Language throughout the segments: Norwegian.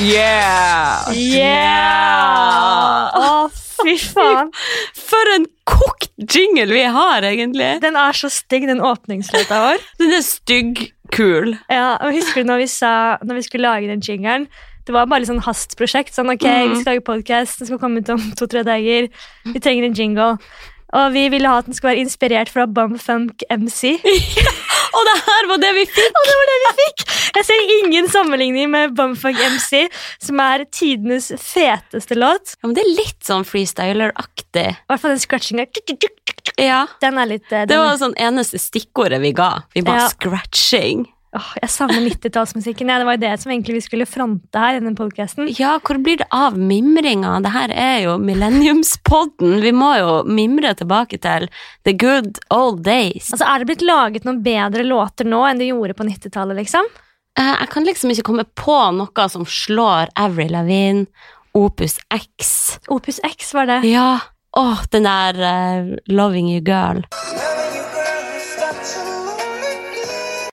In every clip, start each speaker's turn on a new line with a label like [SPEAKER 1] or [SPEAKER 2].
[SPEAKER 1] Yeah!
[SPEAKER 2] Yeah! Å, fy faen.
[SPEAKER 1] For en kokt jingle vi har, egentlig.
[SPEAKER 2] Den er så stygg, den åpningslåta vår.
[SPEAKER 1] Den er stygg, kul.
[SPEAKER 2] Ja, og Husker du når vi sa Når vi skulle lage den jingeren? Det var bare litt sånn hastprosjekt. Sånn, ok, Vi skal lage podkast, den skal komme ut om to-tre dager. Vi trenger en jingle. Og vi ville ha at den skulle være inspirert fra Bumfunk MC.
[SPEAKER 1] Og det her var det vi fikk!
[SPEAKER 2] Og det var det vi fikk! Jeg ser ingen sammenligning med Bumfunk MC, som er tidenes feteste låt.
[SPEAKER 1] Ja, men det er litt sånn freestyler-aktig.
[SPEAKER 2] I hvert fall den scratchinga.
[SPEAKER 1] Ja.
[SPEAKER 2] Den er litt eh, den,
[SPEAKER 1] Det var sånn eneste stikkordet vi ga. Vi bare
[SPEAKER 2] Ja.
[SPEAKER 1] scratching.
[SPEAKER 2] Åh, Jeg savner 90-tallsmusikken. Ja, det var jo det som egentlig vi skulle fronte her. i denne podcasten.
[SPEAKER 1] Ja, hvor blir det av mimringa? Det her er jo millenniumspodden. Vi må jo mimre tilbake til the good old days.
[SPEAKER 2] Altså, Er det blitt laget noen bedre låter nå enn de gjorde på 90-tallet? liksom?
[SPEAKER 1] Eh, Jeg kan liksom ikke komme på noe som slår Avril Lavigne, Opus X.
[SPEAKER 2] Opus X var det.
[SPEAKER 1] Ja. Åh, den der eh, Loving You Girl.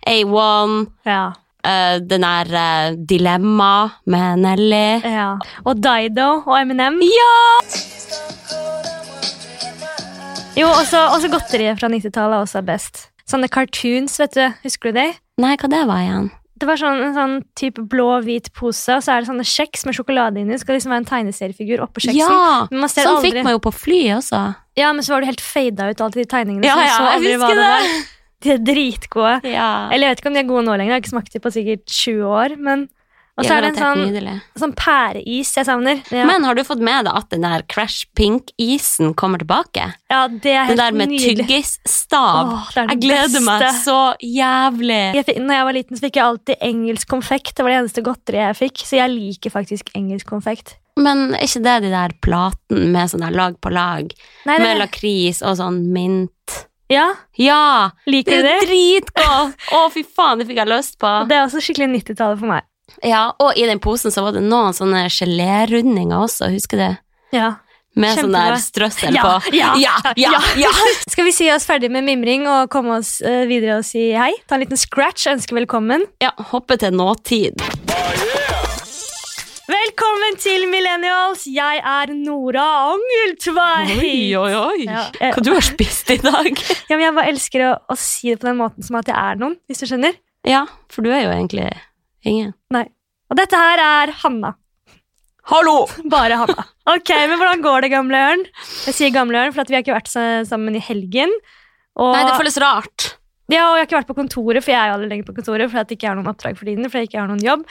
[SPEAKER 1] A1.
[SPEAKER 2] Ja.
[SPEAKER 1] eh, den der eh, Dilemma med Nelly.
[SPEAKER 2] ja. Og Dido og Eminem.
[SPEAKER 1] Ja!
[SPEAKER 2] Jo, også, også godteriet fra 90-tallet er også best. Sånne cartoons, vet du. Husker du det?
[SPEAKER 1] Nei, hva det var igjen?
[SPEAKER 2] Det var sånn, en sånn type blå-hvit pose, og så er det sånne kjeks med sjokolade inni. Det skal liksom være en tegneseriefigur oppå kjeksen.
[SPEAKER 1] Ja!
[SPEAKER 2] Men man ser
[SPEAKER 1] Sånn
[SPEAKER 2] aldri-
[SPEAKER 1] fikk man jo på fly også.
[SPEAKER 2] Ja, men så var du helt fada ut, alle de tegningene.
[SPEAKER 1] Ja,
[SPEAKER 2] så man
[SPEAKER 1] ja,
[SPEAKER 2] så
[SPEAKER 1] jeg
[SPEAKER 2] aldri hva
[SPEAKER 1] husker
[SPEAKER 2] det.
[SPEAKER 1] det.
[SPEAKER 2] var. De er dritgode.
[SPEAKER 1] Ja.
[SPEAKER 2] Eller jeg vet ikke om de er gode nå lenger, jeg har ikke smakt de på sikkert 20 år. Men... Og så
[SPEAKER 1] Ja,
[SPEAKER 2] er det en
[SPEAKER 1] det var helt
[SPEAKER 2] sånn,
[SPEAKER 1] nydelig.
[SPEAKER 2] sånn pæreis jeg savner. Ja,
[SPEAKER 1] Men har du fått med deg at den der Crash Pink-isen kommer tilbake?
[SPEAKER 2] ja det er
[SPEAKER 1] Den
[SPEAKER 2] helt
[SPEAKER 1] der med
[SPEAKER 2] nydelig.
[SPEAKER 1] tyggisstav.
[SPEAKER 2] Åh, det er
[SPEAKER 1] Jeg
[SPEAKER 2] den
[SPEAKER 1] gleder meg
[SPEAKER 2] beste.
[SPEAKER 1] så jævlig.
[SPEAKER 2] Jeg fikk, når jeg var liten, så fikk jeg alltid engelsk konfekt. Det var det eneste godteriet jeg fikk, så jeg liker faktisk engelsk konfekt.
[SPEAKER 1] Men er ikke det de der platene med sånn der lag på lag?
[SPEAKER 2] Nei,
[SPEAKER 1] Med
[SPEAKER 2] det,
[SPEAKER 1] lakris og sånn mint?
[SPEAKER 2] ja,
[SPEAKER 1] Ja! Det
[SPEAKER 2] liker du
[SPEAKER 1] er
[SPEAKER 2] det?
[SPEAKER 1] jo dritgodt! Å, fy faen, det fikk jeg lyst på.
[SPEAKER 2] Det er også skikkelig 90-tallet for meg.
[SPEAKER 1] Ja, Og i den posen så var det noen sånne gelérundinger også, husker du?
[SPEAKER 2] Ja.
[SPEAKER 1] Med sånn
[SPEAKER 2] Kjempebra.
[SPEAKER 1] der strøssel
[SPEAKER 2] Ja,
[SPEAKER 1] på.
[SPEAKER 2] ja,
[SPEAKER 1] ja, ja, ja.
[SPEAKER 2] Skal vi si oss ferdig med mimring og komme oss eh, videre og si hei? Ta en liten scratch og ønske velkommen.
[SPEAKER 1] ja hoppe til nåtid.
[SPEAKER 2] Velkommen til Millennials! Jeg er Nora Angeltveit.
[SPEAKER 1] oi, oi.
[SPEAKER 2] Ja.
[SPEAKER 1] Hva du har spist i dag?
[SPEAKER 2] Ja, men jeg bare elsker å, å si det på den måten som at jeg er noen, hvis du skjønner.
[SPEAKER 1] Ja, for du er jo egentlig ingen.
[SPEAKER 2] Og dette her er Hanna.
[SPEAKER 1] Hallo!
[SPEAKER 2] Bare Hanna. Ok, men hvordan går det, gamle ørn? Jeg sier gamle ørn, for at vi har ikke vært sa- sammen i helgen. Og,
[SPEAKER 1] Nei, det føles rart.
[SPEAKER 2] ja, og jeg har ikke vært på kontoret, for jeg er jo aldri lenger på kontoret, for at jeg ikke har noen oppdrag for tiden, for jeg ikke har noen jobb.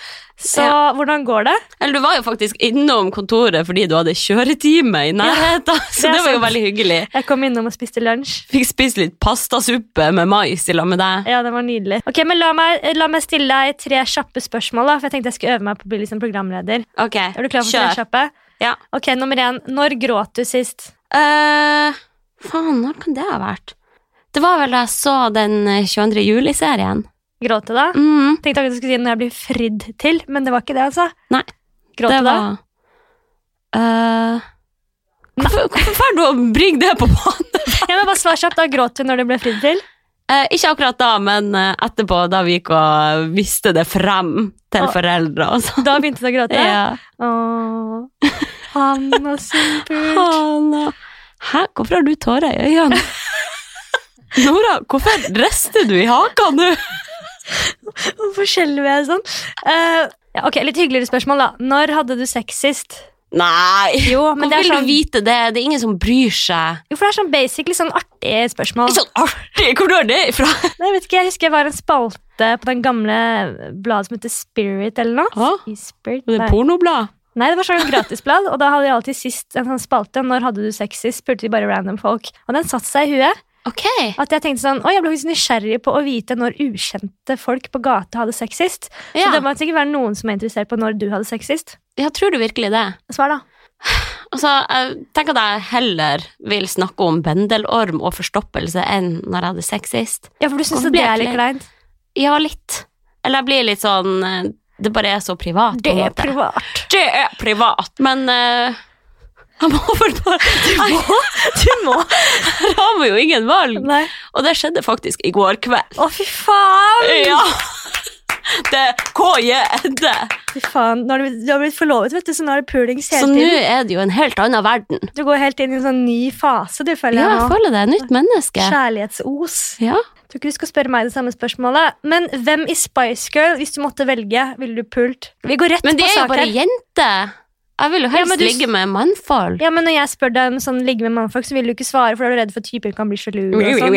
[SPEAKER 2] Så hvordan går det?
[SPEAKER 1] Eller du var jo faktisk innom kontoret fordi du hadde kjøretime i nærheten, så
[SPEAKER 2] det er
[SPEAKER 1] det var jo
[SPEAKER 2] sant.
[SPEAKER 1] veldig hyggelig.
[SPEAKER 2] Jeg kom innom og spiste lunsj.
[SPEAKER 1] Fikk spist litt pastasuppe med mais i lag med deg.
[SPEAKER 2] Ja, den var nydelig. Ok, men La meg, la meg stille deg tre kjappe spørsmål. da, for Jeg tenkte jeg skulle øve meg på å bli liksom programleder.
[SPEAKER 1] Ok,
[SPEAKER 2] Er du klar for tre kjappe?
[SPEAKER 1] Ja.
[SPEAKER 2] Ok, Nummer én. Når gråt du sist?
[SPEAKER 1] Eh, faen, når kan det ha vært? Det var vel da jeg så den eh, 22. juli-serien.
[SPEAKER 2] Gråt du da?
[SPEAKER 1] Mm,
[SPEAKER 2] Tenkte akkurat du skulle si når jeg blir fridd til, men det var ikke det, altså.
[SPEAKER 1] Nei,
[SPEAKER 2] Gråt
[SPEAKER 1] det
[SPEAKER 2] du da?
[SPEAKER 1] var Eh, Hvorfor hvorfor får du å bringe det på banen?
[SPEAKER 2] Ja, men bare svar kjapt. Da gråt du når du ble fridd til?
[SPEAKER 1] Eh, ikke akkurat da, men eh, etterpå, da vi gikk og viste det frem til
[SPEAKER 2] Å.
[SPEAKER 1] foreldre og sånn.
[SPEAKER 2] Da begynte du å gråte?
[SPEAKER 1] Ja.
[SPEAKER 2] Åh, han og sin pult.
[SPEAKER 1] Hanna. Hæ, hvorfor har du tårer i øynene? Nora, hvorfor rister du i haka nå?
[SPEAKER 2] Hvorfor skjelver jeg sånn? Eh, ja, ok, Litt hyggeligere spørsmål, da. Når hadde du sex sist?
[SPEAKER 1] Nei!
[SPEAKER 2] Jo, men
[SPEAKER 1] Hvorfor
[SPEAKER 2] det er
[SPEAKER 1] vil du
[SPEAKER 2] sånn,
[SPEAKER 1] vite det? Det er ingen som bryr seg.
[SPEAKER 2] jo, for det er sånn basic, litt sånn artig spørsmål.
[SPEAKER 1] Litt sånn artig! Hvor har du det ifra?
[SPEAKER 2] Nei, jeg vet ikke, jeg husker jeg var i en spalte på den gamle bladet som heter Spirit eller noe.
[SPEAKER 1] Hå?
[SPEAKER 2] I Spirit,
[SPEAKER 1] Det
[SPEAKER 2] nei.
[SPEAKER 1] er pornoblad.
[SPEAKER 2] nei, det var sånn gratisblad, og da hadde jeg alltid sist en sånn spalte. Når hadde du sex sist? spurte de bare random folk. Og den satte seg i huet.
[SPEAKER 1] Ok.
[SPEAKER 2] At jeg tenkte sånn, å, jeg ble faktisk nysgjerrig på å vite når ukjente folk på gata hadde sex sist. Så
[SPEAKER 1] Ja.
[SPEAKER 2] det må sikkert være noen som er interessert på når du hadde sex sist.
[SPEAKER 1] Ja, tror du virkelig det?
[SPEAKER 2] Svar, da.
[SPEAKER 1] Altså, jeg tenker at jeg heller vil snakke om bendelorm og forstoppelse enn når jeg hadde sex sist.
[SPEAKER 2] Ja, for du syns
[SPEAKER 1] Hvorfor
[SPEAKER 2] at det
[SPEAKER 1] ble
[SPEAKER 2] er
[SPEAKER 1] jeg
[SPEAKER 2] litt
[SPEAKER 1] ikke
[SPEAKER 2] kleint?
[SPEAKER 1] Ja, litt. Eller jeg blir litt sånn eh, Det bare er så privat.
[SPEAKER 2] Det
[SPEAKER 1] på en
[SPEAKER 2] er
[SPEAKER 1] måte.
[SPEAKER 2] privat.
[SPEAKER 1] det er privat. Men eh, jeg må vel bare Jeg
[SPEAKER 2] Du må
[SPEAKER 1] har jo ingen valg.
[SPEAKER 2] Nei.
[SPEAKER 1] Og det skjedde faktisk i går kveld.
[SPEAKER 2] Å, fy faen!
[SPEAKER 1] Ja. Det er KJD.
[SPEAKER 2] Fy faen, nå har du, du har blitt forlovet, vet du, så nå er det pulings
[SPEAKER 1] Så
[SPEAKER 2] hele
[SPEAKER 1] nå
[SPEAKER 2] tiden.
[SPEAKER 1] er det jo en helt annen verden.
[SPEAKER 2] Du går helt inn i en sånn ny fase, du føler
[SPEAKER 1] Ja, jeg
[SPEAKER 2] jeg nå.
[SPEAKER 1] føler det er et nytt menneske.
[SPEAKER 2] Kjærlighetsos.
[SPEAKER 1] Ja.
[SPEAKER 2] Tror ikke du skal spørre meg det samme spørsmålet. Men hvem i Spice Girl, hvis du måtte velge, ville du pult? Vi går rett
[SPEAKER 1] Men de er
[SPEAKER 2] på
[SPEAKER 1] jo
[SPEAKER 2] sak
[SPEAKER 1] bare
[SPEAKER 2] her.
[SPEAKER 1] jenter. Jeg vil jo helst
[SPEAKER 2] men du-
[SPEAKER 1] ligge med mannfolk.
[SPEAKER 2] Ja, men når jeg spør deg om sånn ligge med mannfolk, så vil du ikke svare, for da er du redd for at typen kan bli sjalu. og sånn.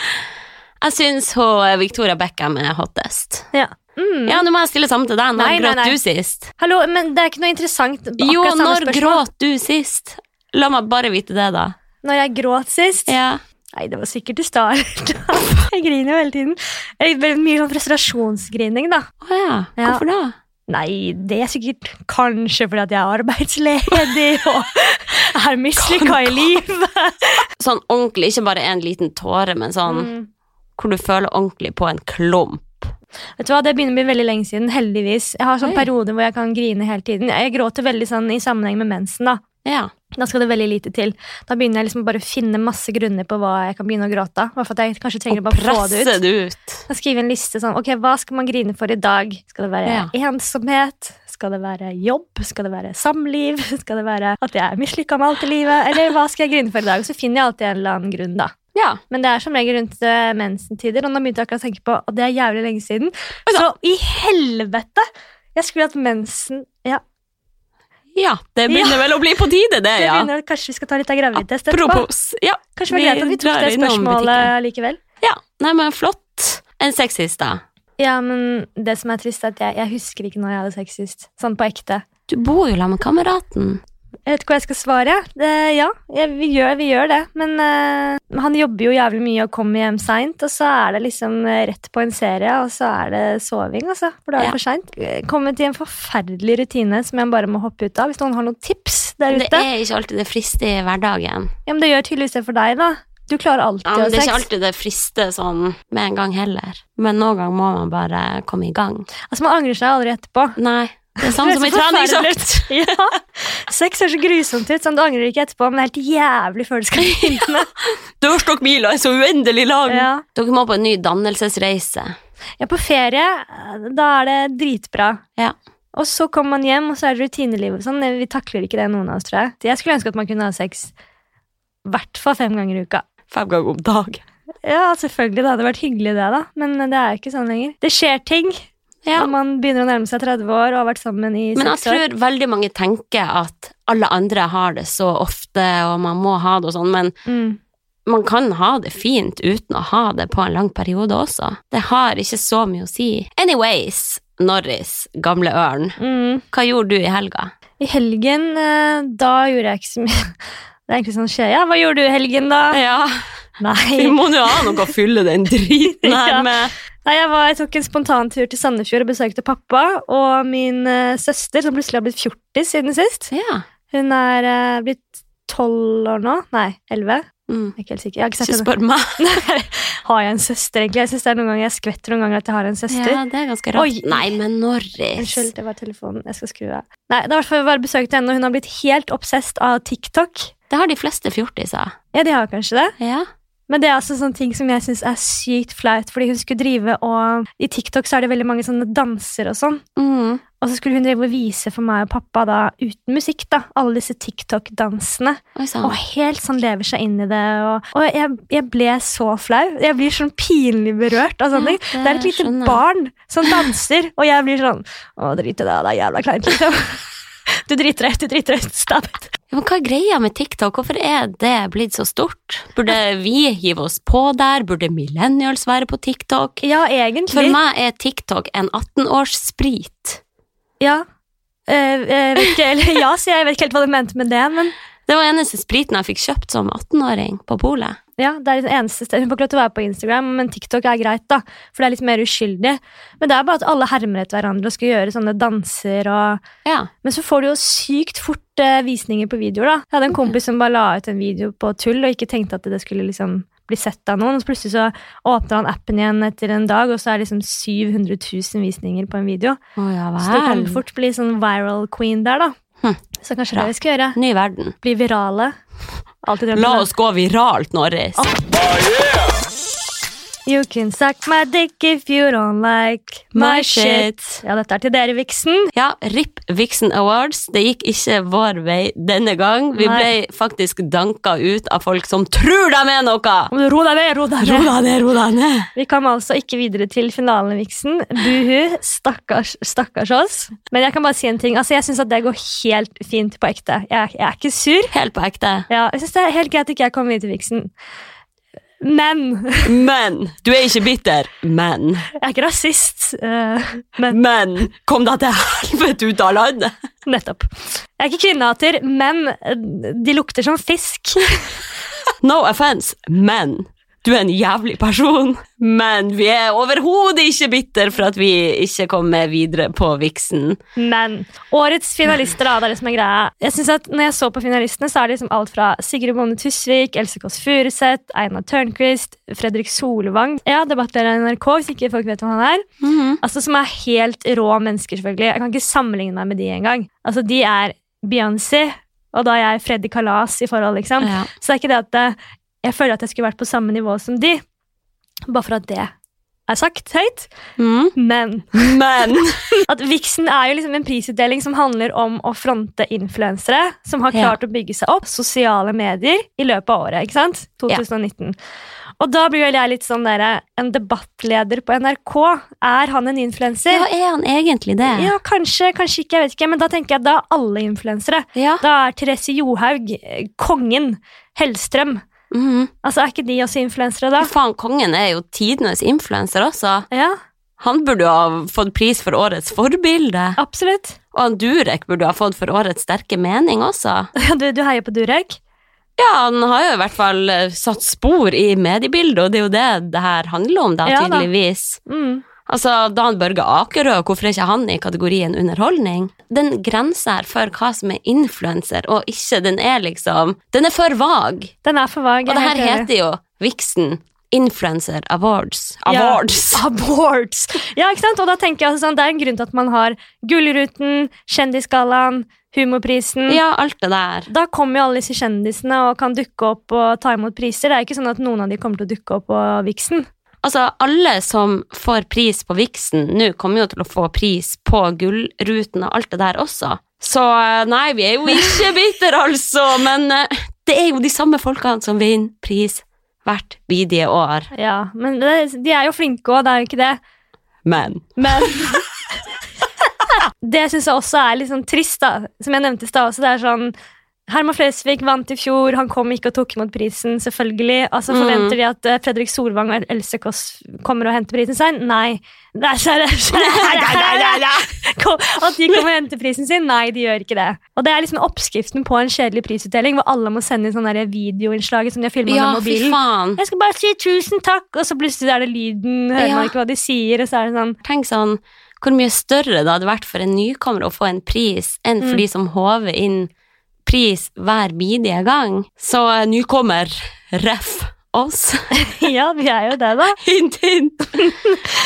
[SPEAKER 1] Jeg syns hun, eh, Victoria Beckham er hottest.
[SPEAKER 2] Ja. Mm.
[SPEAKER 1] Ja, nå må jeg stille sammen til deg. Når
[SPEAKER 2] Nei, nei,
[SPEAKER 1] gråt
[SPEAKER 2] nei.
[SPEAKER 1] du sist?
[SPEAKER 2] Hallo, men det er ikke noe interessant. på
[SPEAKER 1] Jo,
[SPEAKER 2] akkurat samme
[SPEAKER 1] når
[SPEAKER 2] spørsmål.
[SPEAKER 1] gråt du sist? La meg bare vite det, da.
[SPEAKER 2] Når jeg gråt sist?
[SPEAKER 1] Ja.
[SPEAKER 2] Nei, det var sikkert i start. jeg griner jo hele tiden. Jeg ble mye sånn frustrasjonsgrining, da.
[SPEAKER 1] Å ja.
[SPEAKER 2] Ja.
[SPEAKER 1] Hvorfor da?
[SPEAKER 2] Nei, det er sikkert kanskje fordi at jeg er arbeidsledig og er mislykka i livet.
[SPEAKER 1] Sånn ordentlig, ikke bare en liten tåre, men sånn
[SPEAKER 2] Mm.
[SPEAKER 1] hvor du føler ordentlig på en klump.
[SPEAKER 2] Vet du hva, Det begynner å bli veldig lenge siden, heldigvis. Jeg har sånn
[SPEAKER 1] Oi.
[SPEAKER 2] perioder hvor jeg kan grine hele tiden. Jeg gråter veldig sånn i sammenheng med mensen. Da
[SPEAKER 1] Ja.
[SPEAKER 2] Da skal det veldig lite til. Da begynner jeg liksom bare å finne masse grunner på hva jeg kan begynne å gråte av. Bare for at jeg kanskje trenger
[SPEAKER 1] Og
[SPEAKER 2] å bare få det ut.
[SPEAKER 1] presser det ut.
[SPEAKER 2] Da skriver jeg en liste sånn, ok, hva skal man grine for i dag? Skal det være
[SPEAKER 1] Ja.
[SPEAKER 2] ensomhet? Skal det være jobb? Skal det være samliv? Skal det være at jeg er mislykka med alt i livet? Eller hva skal jeg grine for i dag? Så finner jeg alltid en eller annen grunn, da.
[SPEAKER 1] Ja.
[SPEAKER 2] Men det er som regel rundt eh, mensentider, og nå begynte jeg akkurat å tenke på at det er jævlig lenge siden. Så i helvete! Jeg skulle hatt mensen Ja,
[SPEAKER 1] ja. Det begynner vel å bli på tide, det,
[SPEAKER 2] det
[SPEAKER 1] ja.
[SPEAKER 2] begynner, kanskje vi skal ta litt av graviditetstest etterpå?
[SPEAKER 1] Apropos. Ja.
[SPEAKER 2] Kanskje det var
[SPEAKER 1] Vi
[SPEAKER 2] greit at vi tok
[SPEAKER 1] drar
[SPEAKER 2] det
[SPEAKER 1] innom
[SPEAKER 2] spørsmålet
[SPEAKER 1] butikken.
[SPEAKER 2] likevel?
[SPEAKER 1] ja. Nei, men flott. En sexist, da.
[SPEAKER 2] Ja, men det som er trist, er at jeg, jeg husker ikke når jeg hadde sex sist. Sånn på ekte.
[SPEAKER 1] Du bor jo sammen med kameraten.
[SPEAKER 2] Jeg vet ikke hva jeg skal svare. Eh, ja, jeg, vi, gjør, vi gjør det. Men eh, han jobber jo jævlig mye og kommer hjem seint, og så er det liksom eh, rett på en serie, og så er det soving, altså. For da er det
[SPEAKER 1] Ja.
[SPEAKER 2] for seint. Eh, Kommet i en forferdelig rutine som jeg bare må hoppe ut av. Hvis noen har noen tips der
[SPEAKER 1] Det
[SPEAKER 2] ute.
[SPEAKER 1] er ikke alltid det frister i hverdagen.
[SPEAKER 2] Ja, men det gjør tydeligvis det for deg, da. Du klarer alltid
[SPEAKER 1] Ja,
[SPEAKER 2] å
[SPEAKER 1] men
[SPEAKER 2] ha
[SPEAKER 1] det er
[SPEAKER 2] sex.
[SPEAKER 1] ikke alltid det frister sånn med en gang heller. Men noen gang må man bare komme i gang.
[SPEAKER 2] Altså, man angrer seg aldri etterpå.
[SPEAKER 1] Nei, det er samme
[SPEAKER 2] Det
[SPEAKER 1] som i
[SPEAKER 2] er så forferdelig.
[SPEAKER 1] treningsøkt.
[SPEAKER 2] Ja. Sex ser så grusomt ut, sånn du angrer ikke etterpå, men det er helt jævlig før du skal begynne.
[SPEAKER 1] Dørstokkmila er så uendelig lang.
[SPEAKER 2] Ja.
[SPEAKER 1] Dere må på en ny dannelsesreise.
[SPEAKER 2] Ja, på ferie, da er det dritbra.
[SPEAKER 1] Ja.
[SPEAKER 2] Og så kommer man hjem, og så er det rutinelivet. og Sånn. Vi takler ikke det, noen av oss, tror jeg. Jeg skulle ønske at man kunne ha sex i hvert fall fem ganger i uka.
[SPEAKER 1] Fem ganger om dag.
[SPEAKER 2] Ja, selvfølgelig, det hadde vært hyggelig, det, da. Men det er jo ikke sånn lenger. Det skjer ting
[SPEAKER 1] Ja.
[SPEAKER 2] når man begynner å nærme seg 30 år og har vært sammen i
[SPEAKER 1] Men jeg
[SPEAKER 2] seks år.
[SPEAKER 1] tror veldig mange tenker at alle andre har det så ofte, og man må ha det og sånn, men
[SPEAKER 2] Mm.
[SPEAKER 1] man kan ha det fint uten å ha det på en lang periode også. Det har ikke så mye å si. Anyways, Norris, gamle ørn,
[SPEAKER 2] Mm.
[SPEAKER 1] hva gjorde du i helga?
[SPEAKER 2] I helgen, eh, da gjorde jeg ikke så mye. Det er egentlig sånn skjer. Ja, hva gjorde du i helgen, da?
[SPEAKER 1] Ja,
[SPEAKER 2] Nei.
[SPEAKER 1] vi må jo ha noe å fylle den driten
[SPEAKER 2] Ja.
[SPEAKER 1] her med.
[SPEAKER 2] Nei, jeg, var, jeg tok en spontantur til Sandefjord og besøkte pappa og min eh, søster, som plutselig har blitt 40 siden sist.
[SPEAKER 1] Ja.
[SPEAKER 2] Hun er eh, blitt 12 år nå. Nei, 11. Jeg
[SPEAKER 1] Mm.
[SPEAKER 2] er ikke helt sikker. Jeg har ikke
[SPEAKER 1] Ikke
[SPEAKER 2] sett
[SPEAKER 1] spør meg.
[SPEAKER 2] henne. har jeg en søster, egentlig? Jeg synes det er noen ganger jeg skvetter noen ganger at jeg har en søster.
[SPEAKER 1] Ja, det er ganske
[SPEAKER 2] Oi.
[SPEAKER 1] rart. Nei, men Norris.
[SPEAKER 2] Unnskyld, det var telefonen. Jeg skal skru av. Nei, det er i hvert fall jeg bare besøkte henne, og hun har blitt helt obsesst av TikTok.
[SPEAKER 1] Det har de fleste fjortiser.
[SPEAKER 2] Ja, de har kanskje det.
[SPEAKER 1] Ja.
[SPEAKER 2] Men det er altså sånne ting som jeg synes er sykt flaut, fordi hun skulle drive og I TikTok så er det veldig mange sånne danser og sånn.
[SPEAKER 1] Mm.
[SPEAKER 2] Og så skulle hun drive og vise for meg og pappa da, uten musikk, da, alle disse TikTok-dansene.
[SPEAKER 1] Oi
[SPEAKER 2] Og
[SPEAKER 1] sann.
[SPEAKER 2] helt sånn lever seg inn i det. Og, og jeg, jeg ble så flau. Jeg blir sånn pinlig berørt av sånne
[SPEAKER 1] Ja,
[SPEAKER 2] ting. Det er et
[SPEAKER 1] det
[SPEAKER 2] lite
[SPEAKER 1] skjønner jeg.
[SPEAKER 2] barn som danser, og jeg blir sånn Å, drit i det, det er jævla kleint, liksom. Du driter deg ut, du driter deg ut. Stop it.
[SPEAKER 1] Ja, Men hva er greia med TikTok? Hvorfor er det blitt så stort? Burde vi hive oss på der? Burde millennials være på TikTok?
[SPEAKER 2] Ja,
[SPEAKER 1] For
[SPEAKER 2] egentlig.
[SPEAKER 1] meg er TikTok en 18-års-sprit.
[SPEAKER 2] Ja. Eh, jeg vet ikke, eller ja, så jeg vet ikke helt hva du mente med det, men
[SPEAKER 1] Det var eneste spriten jeg fikk kjøpt som 18-åring på polet.
[SPEAKER 2] Ja, det er det eneste stedet. Hun får ikke lov til å være på Instagram, men TikTok er greit, da. For det er litt mer uskyldig. Men det er bare at alle hermer etter hverandre og skal gjøre sånne danser og
[SPEAKER 1] Ja.
[SPEAKER 2] Men så får du jo sykt fort eh, visninger på videoer, da. Jeg hadde en kompis som bare la ut en video på tull og ikke tenkte at det skulle liksom bli sett av noen. Og så plutselig så åpner han appen igjen etter en dag, og så er det liksom 700 000 visninger på en video.
[SPEAKER 1] Å ja
[SPEAKER 2] Så du kan
[SPEAKER 1] vel.
[SPEAKER 2] fort bli sånn viral queen der, da.
[SPEAKER 1] Hm.
[SPEAKER 2] Så kanskje
[SPEAKER 1] Bra.
[SPEAKER 2] det vi skal gjøre.
[SPEAKER 1] Ny verden.
[SPEAKER 2] Bli virale. Alltid drømt om
[SPEAKER 1] La
[SPEAKER 2] det.
[SPEAKER 1] oss gå viralt, Norris.
[SPEAKER 2] You can suck my dick if you don't like my shit. Ja, dette er til dere, Vixen.
[SPEAKER 1] Ja, RIP Vixen Awards. Det gikk ikke vår vei denne gang. Vi
[SPEAKER 2] Nei.
[SPEAKER 1] ble faktisk danka ut av folk som tror de er noe!
[SPEAKER 2] Om du Ro deg ned, ro deg ned.
[SPEAKER 1] deg ned, ro deg ned!
[SPEAKER 2] Vi kom altså ikke videre til finalen, Vixen. Buhu. Stakkars, stakkars oss. Men jeg kan bare si en ting. Altså, jeg syns at det går helt fint på ekte. Jeg, er- jeg er ikke sur.
[SPEAKER 1] Helt på ekte.
[SPEAKER 2] Ja, jeg synes Det er helt greit at ikke jeg kom videre, Vixen. Men
[SPEAKER 1] Men! Du er ikke bitter. Men.
[SPEAKER 2] Jeg er ikke rasist. eh, men
[SPEAKER 1] Men! Kom deg til helvete ut av landet!
[SPEAKER 2] nettopp. Jeg er ikke kvinnehater, men eh, de lukter som fisk.
[SPEAKER 1] No offense, men. Du er en jævlig person, men vi er overhodet ikke bitter for at vi ikke kommer videre på Vixen.
[SPEAKER 2] Men årets finalister, da, det er det som er greia. Jeg synes at Når jeg så på finalistene, så er det liksom alt fra Sigrid Bonde Tusvik, Else Kåss Furuseth, Einar Tørnquist, Fredrik Solvang Ja, debattleder i NRK, hvis ikke folk vet hvem han er.
[SPEAKER 1] Mhm.
[SPEAKER 2] Altså Som er helt rå mennesker, selvfølgelig. Jeg kan ikke sammenligne meg med de engang. Altså, de er Beyoncé, og da er jeg Freddy Kalas i forhold, liksom.
[SPEAKER 1] Ja.
[SPEAKER 2] Så det er ikke det at eh, jeg føler at jeg skulle vært på samme nivå som de, bare for at det er sagt høyt.
[SPEAKER 1] Mhm.
[SPEAKER 2] Men
[SPEAKER 1] Men!
[SPEAKER 2] at Vixen er jo liksom en prisutdeling som handler om å fronte influensere som har
[SPEAKER 1] Ja.
[SPEAKER 2] klart å bygge seg opp sosiale medier i løpet av året. ikke sant? 2019. Og da blir vel jeg litt sånn der, En debattleder på NRK, er han en influenser?
[SPEAKER 1] Ja, er han egentlig det?
[SPEAKER 2] Ja, kanskje, kanskje ikke, jeg vet ikke, men da tenker jeg at da er alle influensere.
[SPEAKER 1] Ja.
[SPEAKER 2] Da er Therese Johaug, eh, kongen, Hellstrøm.
[SPEAKER 1] Mhm.
[SPEAKER 2] Altså, Er ikke de også influensere, da?
[SPEAKER 1] Faen, kongen er jo tidenes influenser også.
[SPEAKER 2] Ja,
[SPEAKER 1] Han burde jo ha fått pris for årets forbilde.
[SPEAKER 2] absolutt.
[SPEAKER 1] Og han Durek burde ha fått for årets sterke mening også.
[SPEAKER 2] Du, du heier på Durek?
[SPEAKER 1] Ja, han har jo i hvert fall eh, satt spor i mediebildet, og det er jo det det her handler om, da,
[SPEAKER 2] Ja da.
[SPEAKER 1] tydeligvis.
[SPEAKER 2] Mm.
[SPEAKER 1] Altså, Dan Børge Akerø, hvorfor er ikke han i kategorien underholdning? Den grensa her for hva som er influenser og ikke, den er liksom Den er for vag.
[SPEAKER 2] Den er for vag.
[SPEAKER 1] Og det
[SPEAKER 2] jeg er
[SPEAKER 1] her
[SPEAKER 2] helt enig.
[SPEAKER 1] heter jo Vixen Influencer Awards.
[SPEAKER 2] Ja.
[SPEAKER 1] Awards.
[SPEAKER 2] Awards. Ja, ikke sant? Og da tenker jeg altså sånn, Det er en grunn til at man har Gullruten, Kjendisgallaen, Humorprisen.
[SPEAKER 1] Ja, alt det der.
[SPEAKER 2] Da kommer jo alle disse kjendisene og kan dukke opp og ta imot priser. Det er ikke sånn at noen av de kommer til å dukke opp på Vixen.
[SPEAKER 1] Altså, alle som får pris på Vixen nå, kommer jo til å få pris på Gullruten og alt det der også. Så eh, nei, vi er jo ikke bitter altså, men eh, det er jo de samme folkene som vinner pris hvert bidige år.
[SPEAKER 2] Ja, Men det, de er jo flinke òg, det er jo ikke det.
[SPEAKER 1] Men
[SPEAKER 2] Men Det syns jeg også er litt sånn trist, da. Som jeg nevnte i stad også. Det er sånn Herman Flesvig vant i fjor, han kom ikke og tok imot prisen, selvfølgelig. Altså
[SPEAKER 1] Mm.
[SPEAKER 2] Forventer de at eh, Fredrik Solvang og Else Kåss kommer og henter prisen sin? Nei. Nei, nei, nei, nei. Kom- At de kommer og henter prisen sin? Nei, de gjør ikke det. Og det er liksom oppskriften på en kjedelig prisutdeling, hvor alle må sende inn sånne der videoinnslag som de har filma
[SPEAKER 1] Ja,
[SPEAKER 2] med
[SPEAKER 1] fy
[SPEAKER 2] mobilen.
[SPEAKER 1] faen.
[SPEAKER 2] Jeg skal bare si tusen takk, og så plutselig er det lyden, hører
[SPEAKER 1] Ja.
[SPEAKER 2] man ikke hva de sier, og så er det sånn
[SPEAKER 1] Tenk sånn, hvor mye større det hadde vært for en nykommer å få en pris, enn for de som håver inn pris hver bidige gang. Så eh, nykommer, ref oss.
[SPEAKER 2] Ja, vi er jo det, da.
[SPEAKER 1] Hint, hint.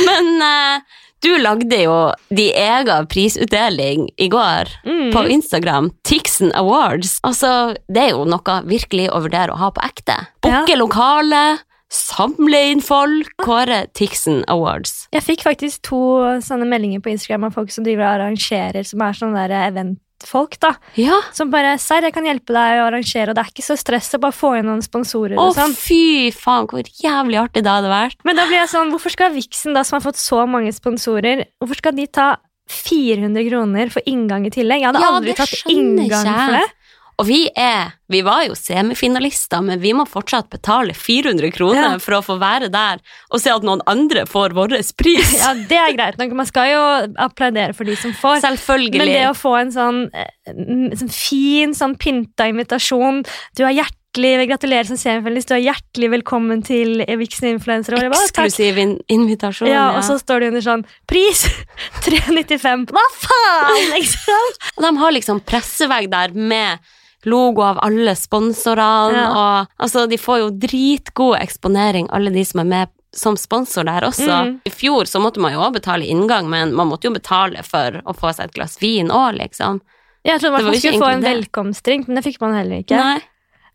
[SPEAKER 1] Men eh, du lagde jo din egen prisutdeling i går
[SPEAKER 2] Mm.
[SPEAKER 1] på Instagram. Tixen Awards. Altså, det er jo noe virkelig å vurdere å ha på ekte. Booke lokale, samle inn folk, kåre Tixen Awards.
[SPEAKER 2] Jeg fikk faktisk to sånne meldinger på Instagram av folk som driver og arrangerer, som er sånne der eventfolk, da.
[SPEAKER 1] Ja.
[SPEAKER 2] Som bare 'Serr, jeg kan hjelpe deg å arrangere', og det er ikke så stress å bare få inn noen sponsorer
[SPEAKER 1] Å,
[SPEAKER 2] og sånn.
[SPEAKER 1] fy faen, hvor jævlig artig det hadde vært.
[SPEAKER 2] Men da blir jeg sånn, hvorfor skal Vixen, da, som har fått så mange sponsorer, hvorfor skal de ta 400 kroner for inngang i tillegg? Jeg hadde
[SPEAKER 1] Ja,
[SPEAKER 2] aldri
[SPEAKER 1] det
[SPEAKER 2] tatt
[SPEAKER 1] skjønner ikke
[SPEAKER 2] inngang for
[SPEAKER 1] jeg.
[SPEAKER 2] det.
[SPEAKER 1] Og vi er Vi var jo semifinalister, men vi må fortsatt betale 400 kroner
[SPEAKER 2] Ja.
[SPEAKER 1] for å få være der og se at noen andre får vår pris.
[SPEAKER 2] Ja, det er greit nok. Man skal jo applaudere for de som får.
[SPEAKER 1] Selvfølgelig.
[SPEAKER 2] Men det å få en sånn, eh, m- sånn fin, sånn pynta invitasjon Du er hjertelig gratulerer som semifinalist, du er hjertelig velkommen til Vixen Influencer. Og jeg bare, «Takk».
[SPEAKER 1] Eksklusiv in invitasjon.
[SPEAKER 2] Ja, og så står det under sånn Pris 395. Hva faen?! Liksom.
[SPEAKER 1] Og de har liksom pressevegg der med logo av alle sponsorene,
[SPEAKER 2] Ja.
[SPEAKER 1] og altså, de får jo dritgod eksponering, alle de som er med som sponsor der også.
[SPEAKER 2] Mm.
[SPEAKER 1] I fjor så måtte man jo også betale inngang, men man måtte jo betale for å få seg et glass vin òg, liksom.
[SPEAKER 2] Jeg
[SPEAKER 1] Det
[SPEAKER 2] trodde
[SPEAKER 1] var
[SPEAKER 2] man
[SPEAKER 1] jo ikke
[SPEAKER 2] skulle få en
[SPEAKER 1] egentlig
[SPEAKER 2] velkomstdrink, men det fikk man heller ikke.
[SPEAKER 1] Nei.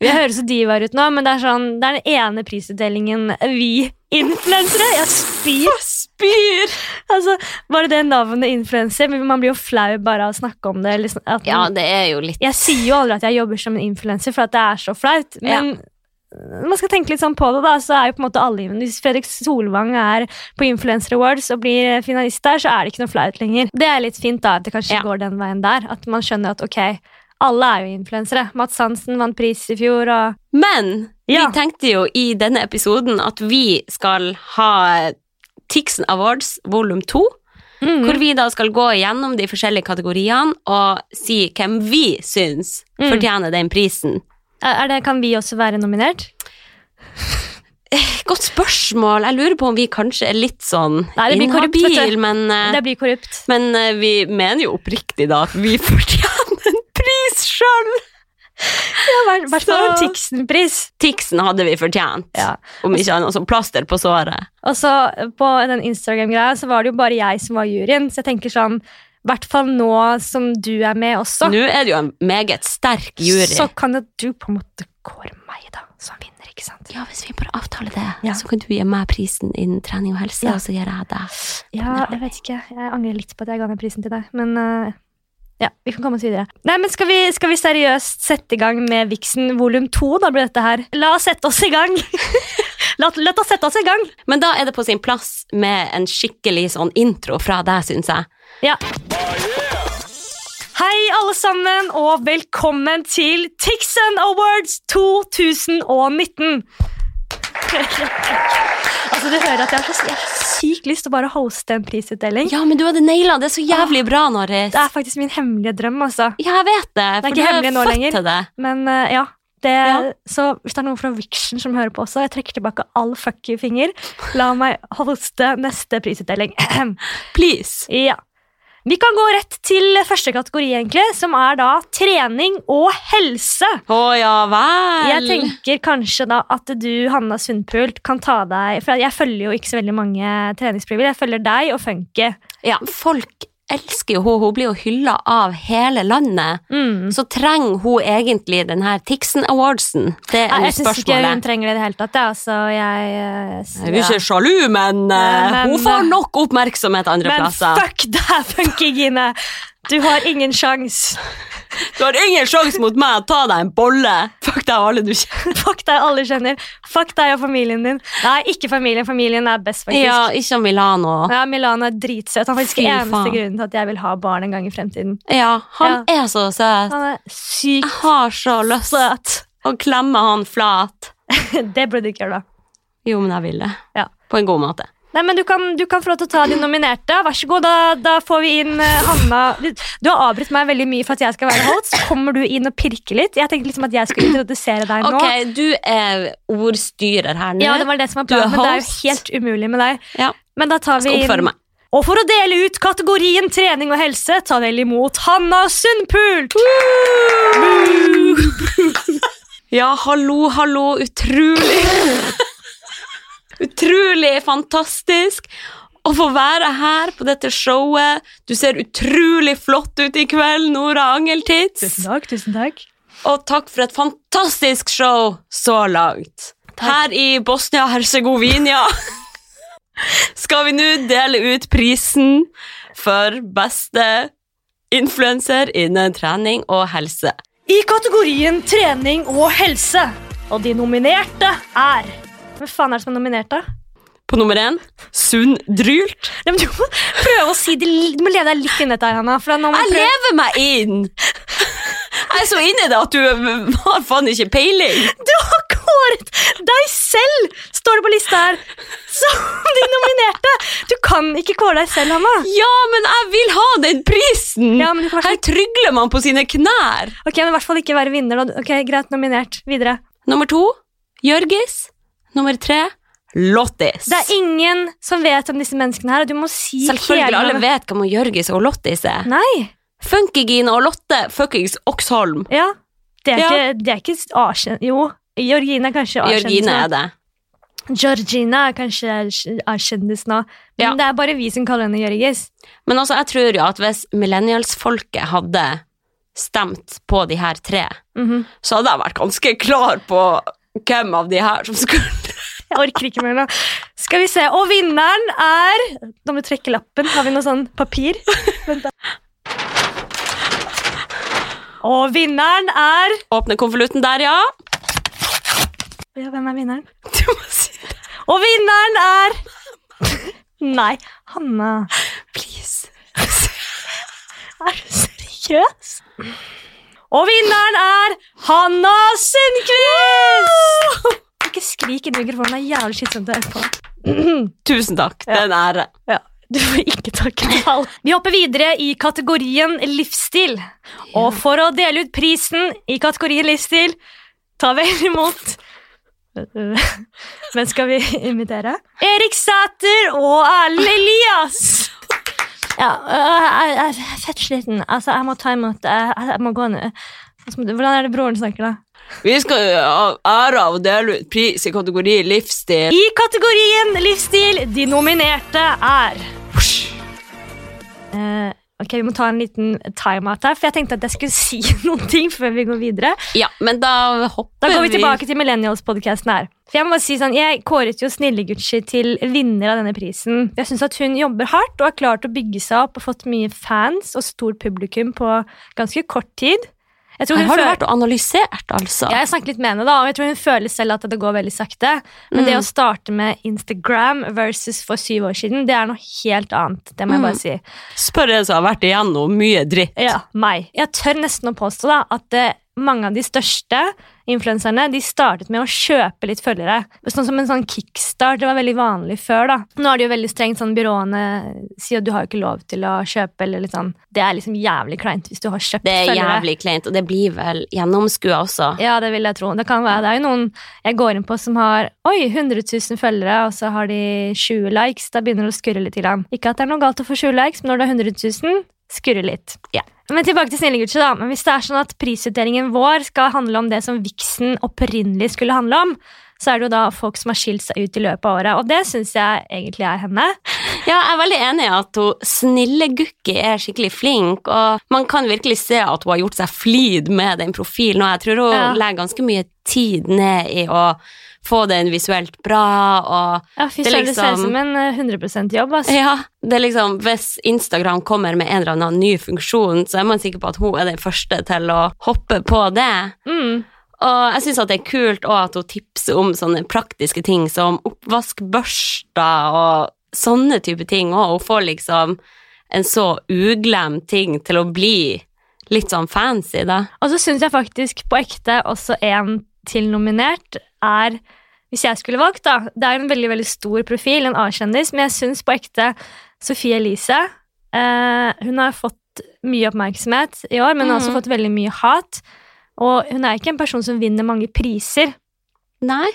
[SPEAKER 2] Jeg høres så divaer ut nå, men det er, sånn, det er den ene prisutdelingen vi Influensere! Jeg spyr!
[SPEAKER 1] Spyr!
[SPEAKER 2] Altså, bare det navnet influenser, men man blir jo flau bare av å snakke om det. eller sånn, at
[SPEAKER 1] Ja,
[SPEAKER 2] man-
[SPEAKER 1] det er jo litt
[SPEAKER 2] Jeg sier jo aldri at jeg jobber som en influenser, for at det er så flaut. Men man skal tenke litt sånn på det, da, så er jo på en måte alle Hvis Fredrik Solvang er på Influencer Awards og blir eh, finalist der, så er det ikke noe flaut lenger. Det er litt fint, da, at det kanskje
[SPEAKER 1] Ja.
[SPEAKER 2] går den veien der. At man skjønner at ok, alle er jo influensere. Mats Hansen vant pris i fjor, og
[SPEAKER 1] Men
[SPEAKER 2] Ja.
[SPEAKER 1] vi tenkte jo i denne episoden at vi skal ha Tixen Awards volum 2,
[SPEAKER 2] Mm.
[SPEAKER 1] hvor vi da skal gå gjennom de forskjellige kategoriene og si hvem vi syns
[SPEAKER 2] Mm.
[SPEAKER 1] fortjener den prisen.
[SPEAKER 2] er er det, Kan vi også være nominert?
[SPEAKER 1] Godt spørsmål. Jeg lurer på om vi kanskje er litt sånn
[SPEAKER 2] Nei, det blir korrupt, vet
[SPEAKER 1] inhabil,
[SPEAKER 2] du.
[SPEAKER 1] men, eh,
[SPEAKER 2] Det blir korrupt.
[SPEAKER 1] men eh, vi mener jo oppriktig da at vi fortjener en pris sjøl!
[SPEAKER 2] I hvert fall en
[SPEAKER 1] Så-
[SPEAKER 2] Tixen-pris.
[SPEAKER 1] Tixen hadde vi fortjent,
[SPEAKER 2] Ja.
[SPEAKER 1] om ikke annet som plaster på såret.
[SPEAKER 2] Og så på den Instagram-greia så var det jo bare jeg som var juryen, så jeg tenker sånn, i hvert fall nå som du er med også,
[SPEAKER 1] Nå er det jo en meget sterk jury.
[SPEAKER 2] så kan jo du på en måte kåre meg da, som vinner, ikke sant?
[SPEAKER 1] Ja, hvis vi bare avtaler det,
[SPEAKER 2] Ja.
[SPEAKER 1] så kan du gi meg prisen innen trening og helse,
[SPEAKER 2] Ja.
[SPEAKER 1] og så gir jeg deg.
[SPEAKER 2] Ja, jeg vet ikke, jeg angrer litt på at jeg ga den prisen til deg, men eh, ja, vi kan komme oss videre. Nei, men skal vi, skal vi seriøst sette i gang med Vixen volum 2, da blir dette her. La oss sette oss i gang! La, la oss sette oss i gang!
[SPEAKER 1] Men da er det på sin plass med en skikkelig sånn intro fra deg, syns jeg.
[SPEAKER 2] Ja. Hei, alle sammen, og velkommen til Tixen Awards 2019. altså, du hører at jeg har så jeg har sykt lyst til å bare hoste en prisutdeling.
[SPEAKER 1] Ja, men du hadde naila det så jævlig bra, Norris.
[SPEAKER 2] Det er faktisk min hemmelige drøm, altså.
[SPEAKER 1] Ja, jeg vet det,
[SPEAKER 2] Det er
[SPEAKER 1] for
[SPEAKER 2] ikke
[SPEAKER 1] du er
[SPEAKER 2] hemmelig nå
[SPEAKER 1] født
[SPEAKER 2] lenger.
[SPEAKER 1] til det.
[SPEAKER 2] Men eh, ja, det,
[SPEAKER 1] Ja.
[SPEAKER 2] så hvis det er noen fra Viction som hører på også, jeg trekker tilbake all fucky finger. La meg hoste neste prisutdeling.
[SPEAKER 1] Please.
[SPEAKER 2] Ja. Vi kan gå rett til første kategori, egentlig, som er da trening og helse.
[SPEAKER 1] Å ja vel.
[SPEAKER 2] Jeg tenker kanskje da at du, Hanna Sundpult, kan ta deg For jeg følger jo ikke så veldig mange treningsprofiler. Jeg følger deg og Funky.
[SPEAKER 1] ja, folk elsker jo henne, hun blir jo hylla av hele landet.
[SPEAKER 2] Mm.
[SPEAKER 1] Så trenger hun egentlig den her Tixen Awardsen? Det
[SPEAKER 2] Nei,
[SPEAKER 1] er jo
[SPEAKER 2] jeg syns ikke hun
[SPEAKER 1] spørsmålet.
[SPEAKER 2] trenger det i det hele tatt. jeg, Altså, jeg, eh, s-
[SPEAKER 1] Jeg er jo ikke sjalu, men, eh,
[SPEAKER 2] men-
[SPEAKER 1] hun får nok oppmerksomhet andre
[SPEAKER 2] Men
[SPEAKER 1] plasser.
[SPEAKER 2] fuck deg, Funky Gine! Du har ingen sjans.
[SPEAKER 1] Du har ingen sjanse mot meg. Ta deg en bolle. Fuck deg og alle du kjenner.
[SPEAKER 2] Fuck deg, alle kjenner. Fuck deg og familien din. Nei, ikke familien. Familien er best, faktisk.
[SPEAKER 1] Ja, ikke Milano.
[SPEAKER 2] Ja, Milano er dritsøt. Han er faktisk
[SPEAKER 1] Fy
[SPEAKER 2] eneste
[SPEAKER 1] faen.
[SPEAKER 2] grunnen til at jeg vil ha barn en gang i fremtiden.
[SPEAKER 1] Ja, han er så søt.
[SPEAKER 2] Han er sykt
[SPEAKER 1] Jeg har så lyst
[SPEAKER 2] søt.
[SPEAKER 1] å klemme han flat.
[SPEAKER 2] Det burde du ikke gjøre, da.
[SPEAKER 1] Jo, men jeg vil det.
[SPEAKER 2] Ja.
[SPEAKER 1] På en god måte.
[SPEAKER 2] Nei, men du kan, du kan få lov til å ta de nominerte. Vær så god, da, da får vi inn eh, Hanna. Du, du har avbrutt meg veldig mye for at jeg skal være host. Kommer du inn og pirker litt? Jeg tenkte liksom at jeg skulle introdusere deg nå.
[SPEAKER 1] Ok, du er ordstyrer her nå.
[SPEAKER 2] Ja, det var det som var
[SPEAKER 1] Du er
[SPEAKER 2] planen, men det er jo
[SPEAKER 1] host.
[SPEAKER 2] helt umulig med deg.
[SPEAKER 1] Ja,
[SPEAKER 2] Men da tar
[SPEAKER 1] jeg
[SPEAKER 2] vi
[SPEAKER 1] skal
[SPEAKER 2] inn
[SPEAKER 1] oppføre meg.
[SPEAKER 2] Og for å dele ut kategorien trening og helse, ta vel imot Hanna Sundpult!
[SPEAKER 1] Ja, hallo, hallo. Utrolig Utrolig fantastisk å få være her på dette showet. Du ser utrolig flott ut i kveld, Nora Angeltitz.
[SPEAKER 2] takk, tusen takk.
[SPEAKER 1] Og takk for et fantastisk show så langt. Her i Bosnia-Hercegovina skal vi nå dele ut prisen for beste influenser innen trening og helse.
[SPEAKER 2] I kategorien trening og helse, og de nominerte er Hvem faen er det som er nominert, da?
[SPEAKER 1] På nummer én Sunn Drylt.
[SPEAKER 2] Nei, men du må prøve å si det li- Du må leve deg litt inn i dette, her, Hanna. For nå må
[SPEAKER 1] Jeg
[SPEAKER 2] du prøve-
[SPEAKER 1] lever meg inn! Jeg er så inni det at du har faen ikke peiling.
[SPEAKER 2] Du har kåret deg selv, står det på lista her, som de nominerte! Du kan ikke kåre deg selv, Hanna.
[SPEAKER 1] Ja, men jeg vil ha den prisen!
[SPEAKER 2] Ja, men du kan i hvert fall
[SPEAKER 1] Her trygler man på sine knær.
[SPEAKER 2] Ok, men i hvert fall ikke være vinner. da. Ok, Greit, nominert. Videre.
[SPEAKER 1] Nummer to, Jørgis. Nummer tre, Lottis.
[SPEAKER 2] Det er ingen som vet om disse menneskene her, og du må si
[SPEAKER 1] Selvfølgelig,
[SPEAKER 2] hele-
[SPEAKER 1] alle vet hvem hun Jørgis og Lottis er.
[SPEAKER 2] Nei,
[SPEAKER 1] Funkygine og Lotte fuckings Oksholm.
[SPEAKER 2] ja. Det er
[SPEAKER 1] Ja.
[SPEAKER 2] ikke, det er ikke avkjent... Jo, Jørgine er kanskje
[SPEAKER 1] Jørgine er
[SPEAKER 2] avkjendis nå.
[SPEAKER 1] det.
[SPEAKER 2] Georgina er kanskje avkj- avkjendis nå. Men
[SPEAKER 1] Ja.
[SPEAKER 2] det er bare vi som kaller henne Jørgis.
[SPEAKER 1] Men altså, jeg tror jo at hvis millennialsfolket hadde stemt på de her tre,
[SPEAKER 2] Mhm.
[SPEAKER 1] så hadde jeg vært ganske klar på hvem av de her som skulle
[SPEAKER 2] Jeg orker ikke mer nå. Skal vi se. Og vinneren er Da må du trekke lappen. Har vi noe sånn papir? Vent da. Og vinneren er
[SPEAKER 1] Åpne konvolutten der, ja.
[SPEAKER 2] ja, Hvem er vinneren?
[SPEAKER 1] Du må si det.
[SPEAKER 2] Og vinneren er Nei, Hanna.
[SPEAKER 1] Please.
[SPEAKER 2] Er du seriøs? Og vinneren er Hanna Sundquist! Ikke skrik inn i mikrofonen. Det er jævlig slitsomt å høre på.
[SPEAKER 1] Tusen takk. Det er en ære.
[SPEAKER 2] Ja, du får ikke takke tall. Vi hopper videre i kategorien livsstil. Og for å dele ut prisen i kategorien livsstil, tar vi imot Hvem skal vi invitere? Erik Sæter og Erlend Elias! Ja, øh, jeg jeg er fett sliten. Altså, jeg må ta imot Jeg, jeg må gå nå. Altså, Hvordan er det broren snakker, da?
[SPEAKER 1] Vi skal eh, ha ære av å dele ut pris i kategori livsstil.
[SPEAKER 2] I kategorien livsstil, de nominerte er Eh, Ok, Vi må ta en liten timeout her, for jeg tenkte at jeg skulle si noen ting før vi går videre.
[SPEAKER 1] Ja, men da hopper
[SPEAKER 2] Da går vi tilbake til Millennials-podkasten her. For Jeg må bare si sånn, jeg kåret jo Snille-Gucci til vinner av denne prisen. Jeg syns hun jobber hardt og har klart å bygge seg opp og fått mye fans og stort publikum på ganske kort tid. Jeg tror
[SPEAKER 1] Her
[SPEAKER 2] hun
[SPEAKER 1] har du
[SPEAKER 2] føler-
[SPEAKER 1] vært og analysert, altså.
[SPEAKER 2] ja, jeg snakket litt med henne, da, og jeg tror hun føler selv at det går veldig sakte. Men
[SPEAKER 1] Mm.
[SPEAKER 2] det å starte med Instagram versus for syv år siden, det er noe helt annet. Det må
[SPEAKER 1] Mm.
[SPEAKER 2] jeg bare si.
[SPEAKER 1] Spør en som har vært igjennom mye dritt.
[SPEAKER 2] Ja, meg. Jeg tør nesten å påstå da, at eh, mange av de største influenserne de startet med å kjøpe litt følgere. Sånn som en sånn kickstart. Det var veldig vanlig før. da. Nå er det jo veldig strengt sånn byråene sier at du har jo ikke lov til å kjøpe. eller litt sånn. Det er liksom jævlig kleint hvis du har kjøpt
[SPEAKER 1] Det er
[SPEAKER 2] følgere.
[SPEAKER 1] jævlig kleint, og det blir vel gjennomskua også.
[SPEAKER 2] Ja, det vil jeg tro. Det kan være. Det er jo noen jeg går inn på som har oi, 100 000 følgere, og så har de 20 likes. Da begynner det å skurre litt. Grann. Ikke at det er noe galt å få 20 likes, men når du har 100 000, skurre litt.
[SPEAKER 1] Ja.
[SPEAKER 2] Men tilbake til Snillegucci, da. Men hvis det er sånn at prisutdelingen vår skal handle om det som Vixen opprinnelig skulle handle om, så er det jo da folk som har skilt seg ut i løpet av året. Og det syns jeg egentlig er henne.
[SPEAKER 1] Ja, jeg er veldig enig i at hun snille Gukki er skikkelig flink, og man kan virkelig se at hun har gjort seg flid med den profilen, og jeg tror hun
[SPEAKER 2] Ja.
[SPEAKER 1] legger ganske mye tid ned i å få den visuelt bra, og
[SPEAKER 2] Ja, fy
[SPEAKER 1] Det er
[SPEAKER 2] søren, det ser ut
[SPEAKER 1] liksom-
[SPEAKER 2] som en eh, 100 jobb, altså.
[SPEAKER 1] ja, det er liksom, hvis Instagram kommer med en eller annen ny funksjon, så er man sikker på at hun er den første til å hoppe på det.
[SPEAKER 2] Mm.
[SPEAKER 1] Og jeg syns det er kult også at hun tipser om sånne praktiske ting som oppvaskbørster og sånne type ting. Og hun får liksom en så uglem ting til å bli litt sånn fancy, da.
[SPEAKER 2] Og så syns jeg faktisk på ekte også en til nominert er Hvis jeg skulle valgt, da. Det er jo en veldig veldig stor profil, en A-kjendis, men jeg syns på ekte Sophie Elise eh, Hun har fått mye oppmerksomhet i år, men hun har også
[SPEAKER 1] Mhm.
[SPEAKER 2] fått veldig mye hat. Og hun er ikke en person som vinner mange priser.
[SPEAKER 1] Nei.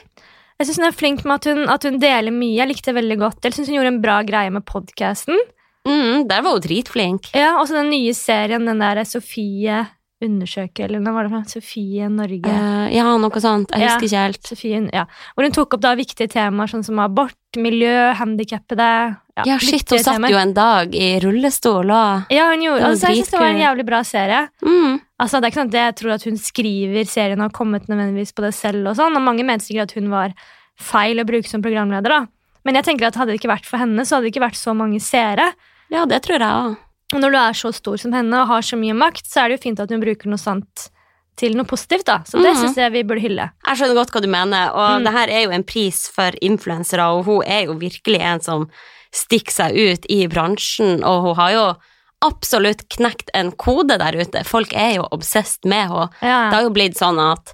[SPEAKER 2] Jeg syns hun er flink med at hun, at hun deler mye. Jeg likte det veldig godt. Jeg syns hun gjorde en bra greie med podkasten.
[SPEAKER 1] Mm, der var hun dritflink.
[SPEAKER 2] Ja, også den nye serien, den der Sofie undersøker, eller hva var det for noe? Sofie Norge.
[SPEAKER 1] Eh, ja, noe sånt. Jeg
[SPEAKER 2] Ja.
[SPEAKER 1] husker ikke helt.
[SPEAKER 2] Sofie, ja. Hvor hun tok opp da viktige temaer sånn som abort, miljø, handikappede.
[SPEAKER 1] Ja, shit, hun satt jo en dag i rullestol og
[SPEAKER 2] Ja, hun gjorde,
[SPEAKER 1] Det var
[SPEAKER 2] altså, jeg synes det var en jævlig bra serie.
[SPEAKER 1] mm.
[SPEAKER 2] Altså, det er ikke sånn at jeg tror at hun skriver serien og har kommet nødvendigvis på det selv. Og sånn, og mange mente sikkert at hun var feil å bruke som programleder. da. Men jeg tenker at hadde det ikke vært for henne, så hadde det ikke vært så mange seere.
[SPEAKER 1] Ja, det tror jeg òg.
[SPEAKER 2] Og når du er så stor som henne og har så mye makt, så er det jo fint at hun bruker noe sant til noe positivt. da. Så det
[SPEAKER 1] Mhm.
[SPEAKER 2] synes jeg vi burde hylle.
[SPEAKER 1] Jeg skjønner godt hva du mener, og
[SPEAKER 2] Mm.
[SPEAKER 1] det her er jo en pris for influensere, og hun er jo virkelig en som stikker seg ut i bransjen, og hun har jo absolutt knekt en kode der ute. Folk er jo obsessed med henne.
[SPEAKER 2] Ja,
[SPEAKER 1] Det har jo blitt sånn at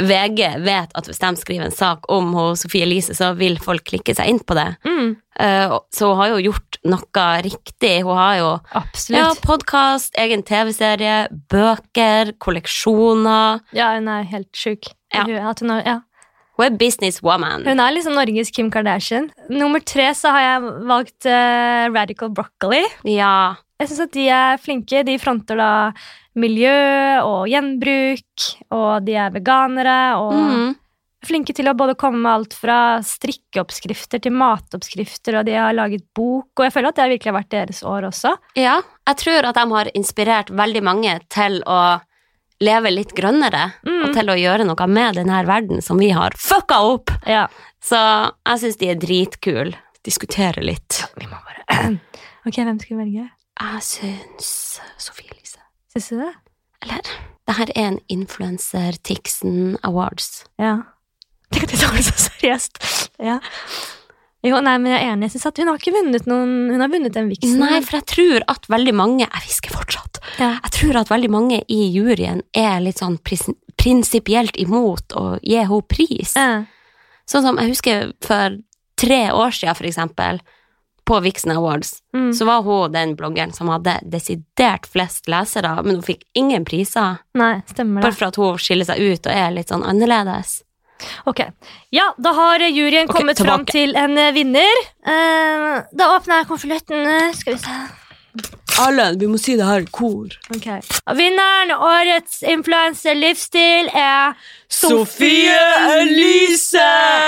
[SPEAKER 1] VG vet at hvis de skriver en sak om hun, Sofie Elise, så vil folk klikke seg inn på det.
[SPEAKER 2] Mm,
[SPEAKER 1] Eh, og- Så hun har jo gjort noe riktig. Hun har jo ja,
[SPEAKER 2] absolutt.
[SPEAKER 1] podkast, egen TV-serie, bøker, kolleksjoner.
[SPEAKER 2] Ja, hun er helt sjuk.
[SPEAKER 1] Ja.
[SPEAKER 2] Hun- At hun har, ja.
[SPEAKER 1] Hun er businesswoman.
[SPEAKER 2] Hun er liksom Norges Kim Kardashian. Nummer tre så har jeg valgt eh, Radical Broccoli.
[SPEAKER 1] Ja.
[SPEAKER 2] Jeg syns at de er flinke. De fronter da miljø og gjenbruk, og de er veganere og
[SPEAKER 1] Mm.
[SPEAKER 2] flinke til å både komme med alt fra strikkeoppskrifter til matoppskrifter, og de har laget bok, og jeg føler at det virkelig har vært deres år også.
[SPEAKER 1] Ja, jeg tror at de har inspirert veldig mange til å leve litt grønnere,
[SPEAKER 2] Mm.
[SPEAKER 1] og til å gjøre noe med denne verden som vi har fucka opp.
[SPEAKER 2] Ja.
[SPEAKER 1] Så jeg syns de er dritkule. Diskutere litt.
[SPEAKER 2] Vi må bare Ok, hvem skal vi velge?
[SPEAKER 1] Jeg syns Sofie Elise
[SPEAKER 2] Syns du det?
[SPEAKER 1] Eller? Det her er en Influencer Tixen Awards.
[SPEAKER 2] Ja. Tenk at jeg tar det så seriøst. Ja. Jo, nei, men jeg er enig. Jeg synes at hun har ikke vunnet noen Hun har vunnet den viksen.
[SPEAKER 1] Nei, for jeg tror at veldig mange Jeg hvisker fortsatt.
[SPEAKER 2] Ja.
[SPEAKER 1] Jeg tror at veldig mange i juryen er litt sånn pris- prinsipielt imot å gi henne pris.
[SPEAKER 2] Eh,
[SPEAKER 1] Sånn som jeg husker for tre år siden, for eksempel, på Vixen Awards,
[SPEAKER 2] Mm.
[SPEAKER 1] så var hun den bloggeren som hadde desidert flest lesere, men hun fikk ingen priser.
[SPEAKER 2] Nei, stemmer
[SPEAKER 1] Bare
[SPEAKER 2] det.
[SPEAKER 1] for at hun skiller seg ut og er litt sånn annerledes.
[SPEAKER 2] Ok. Ja, da har juryen
[SPEAKER 1] Ok,
[SPEAKER 2] kommet fram
[SPEAKER 1] tilbake.
[SPEAKER 2] til en eh, vinner. Eh, da åpner jeg konvolutten. eh, Skal vi se.
[SPEAKER 1] Alle, vi må si det her i kor.
[SPEAKER 2] Ok. Og Vinneren årets influenserlivsstil er
[SPEAKER 1] Sofie Elise!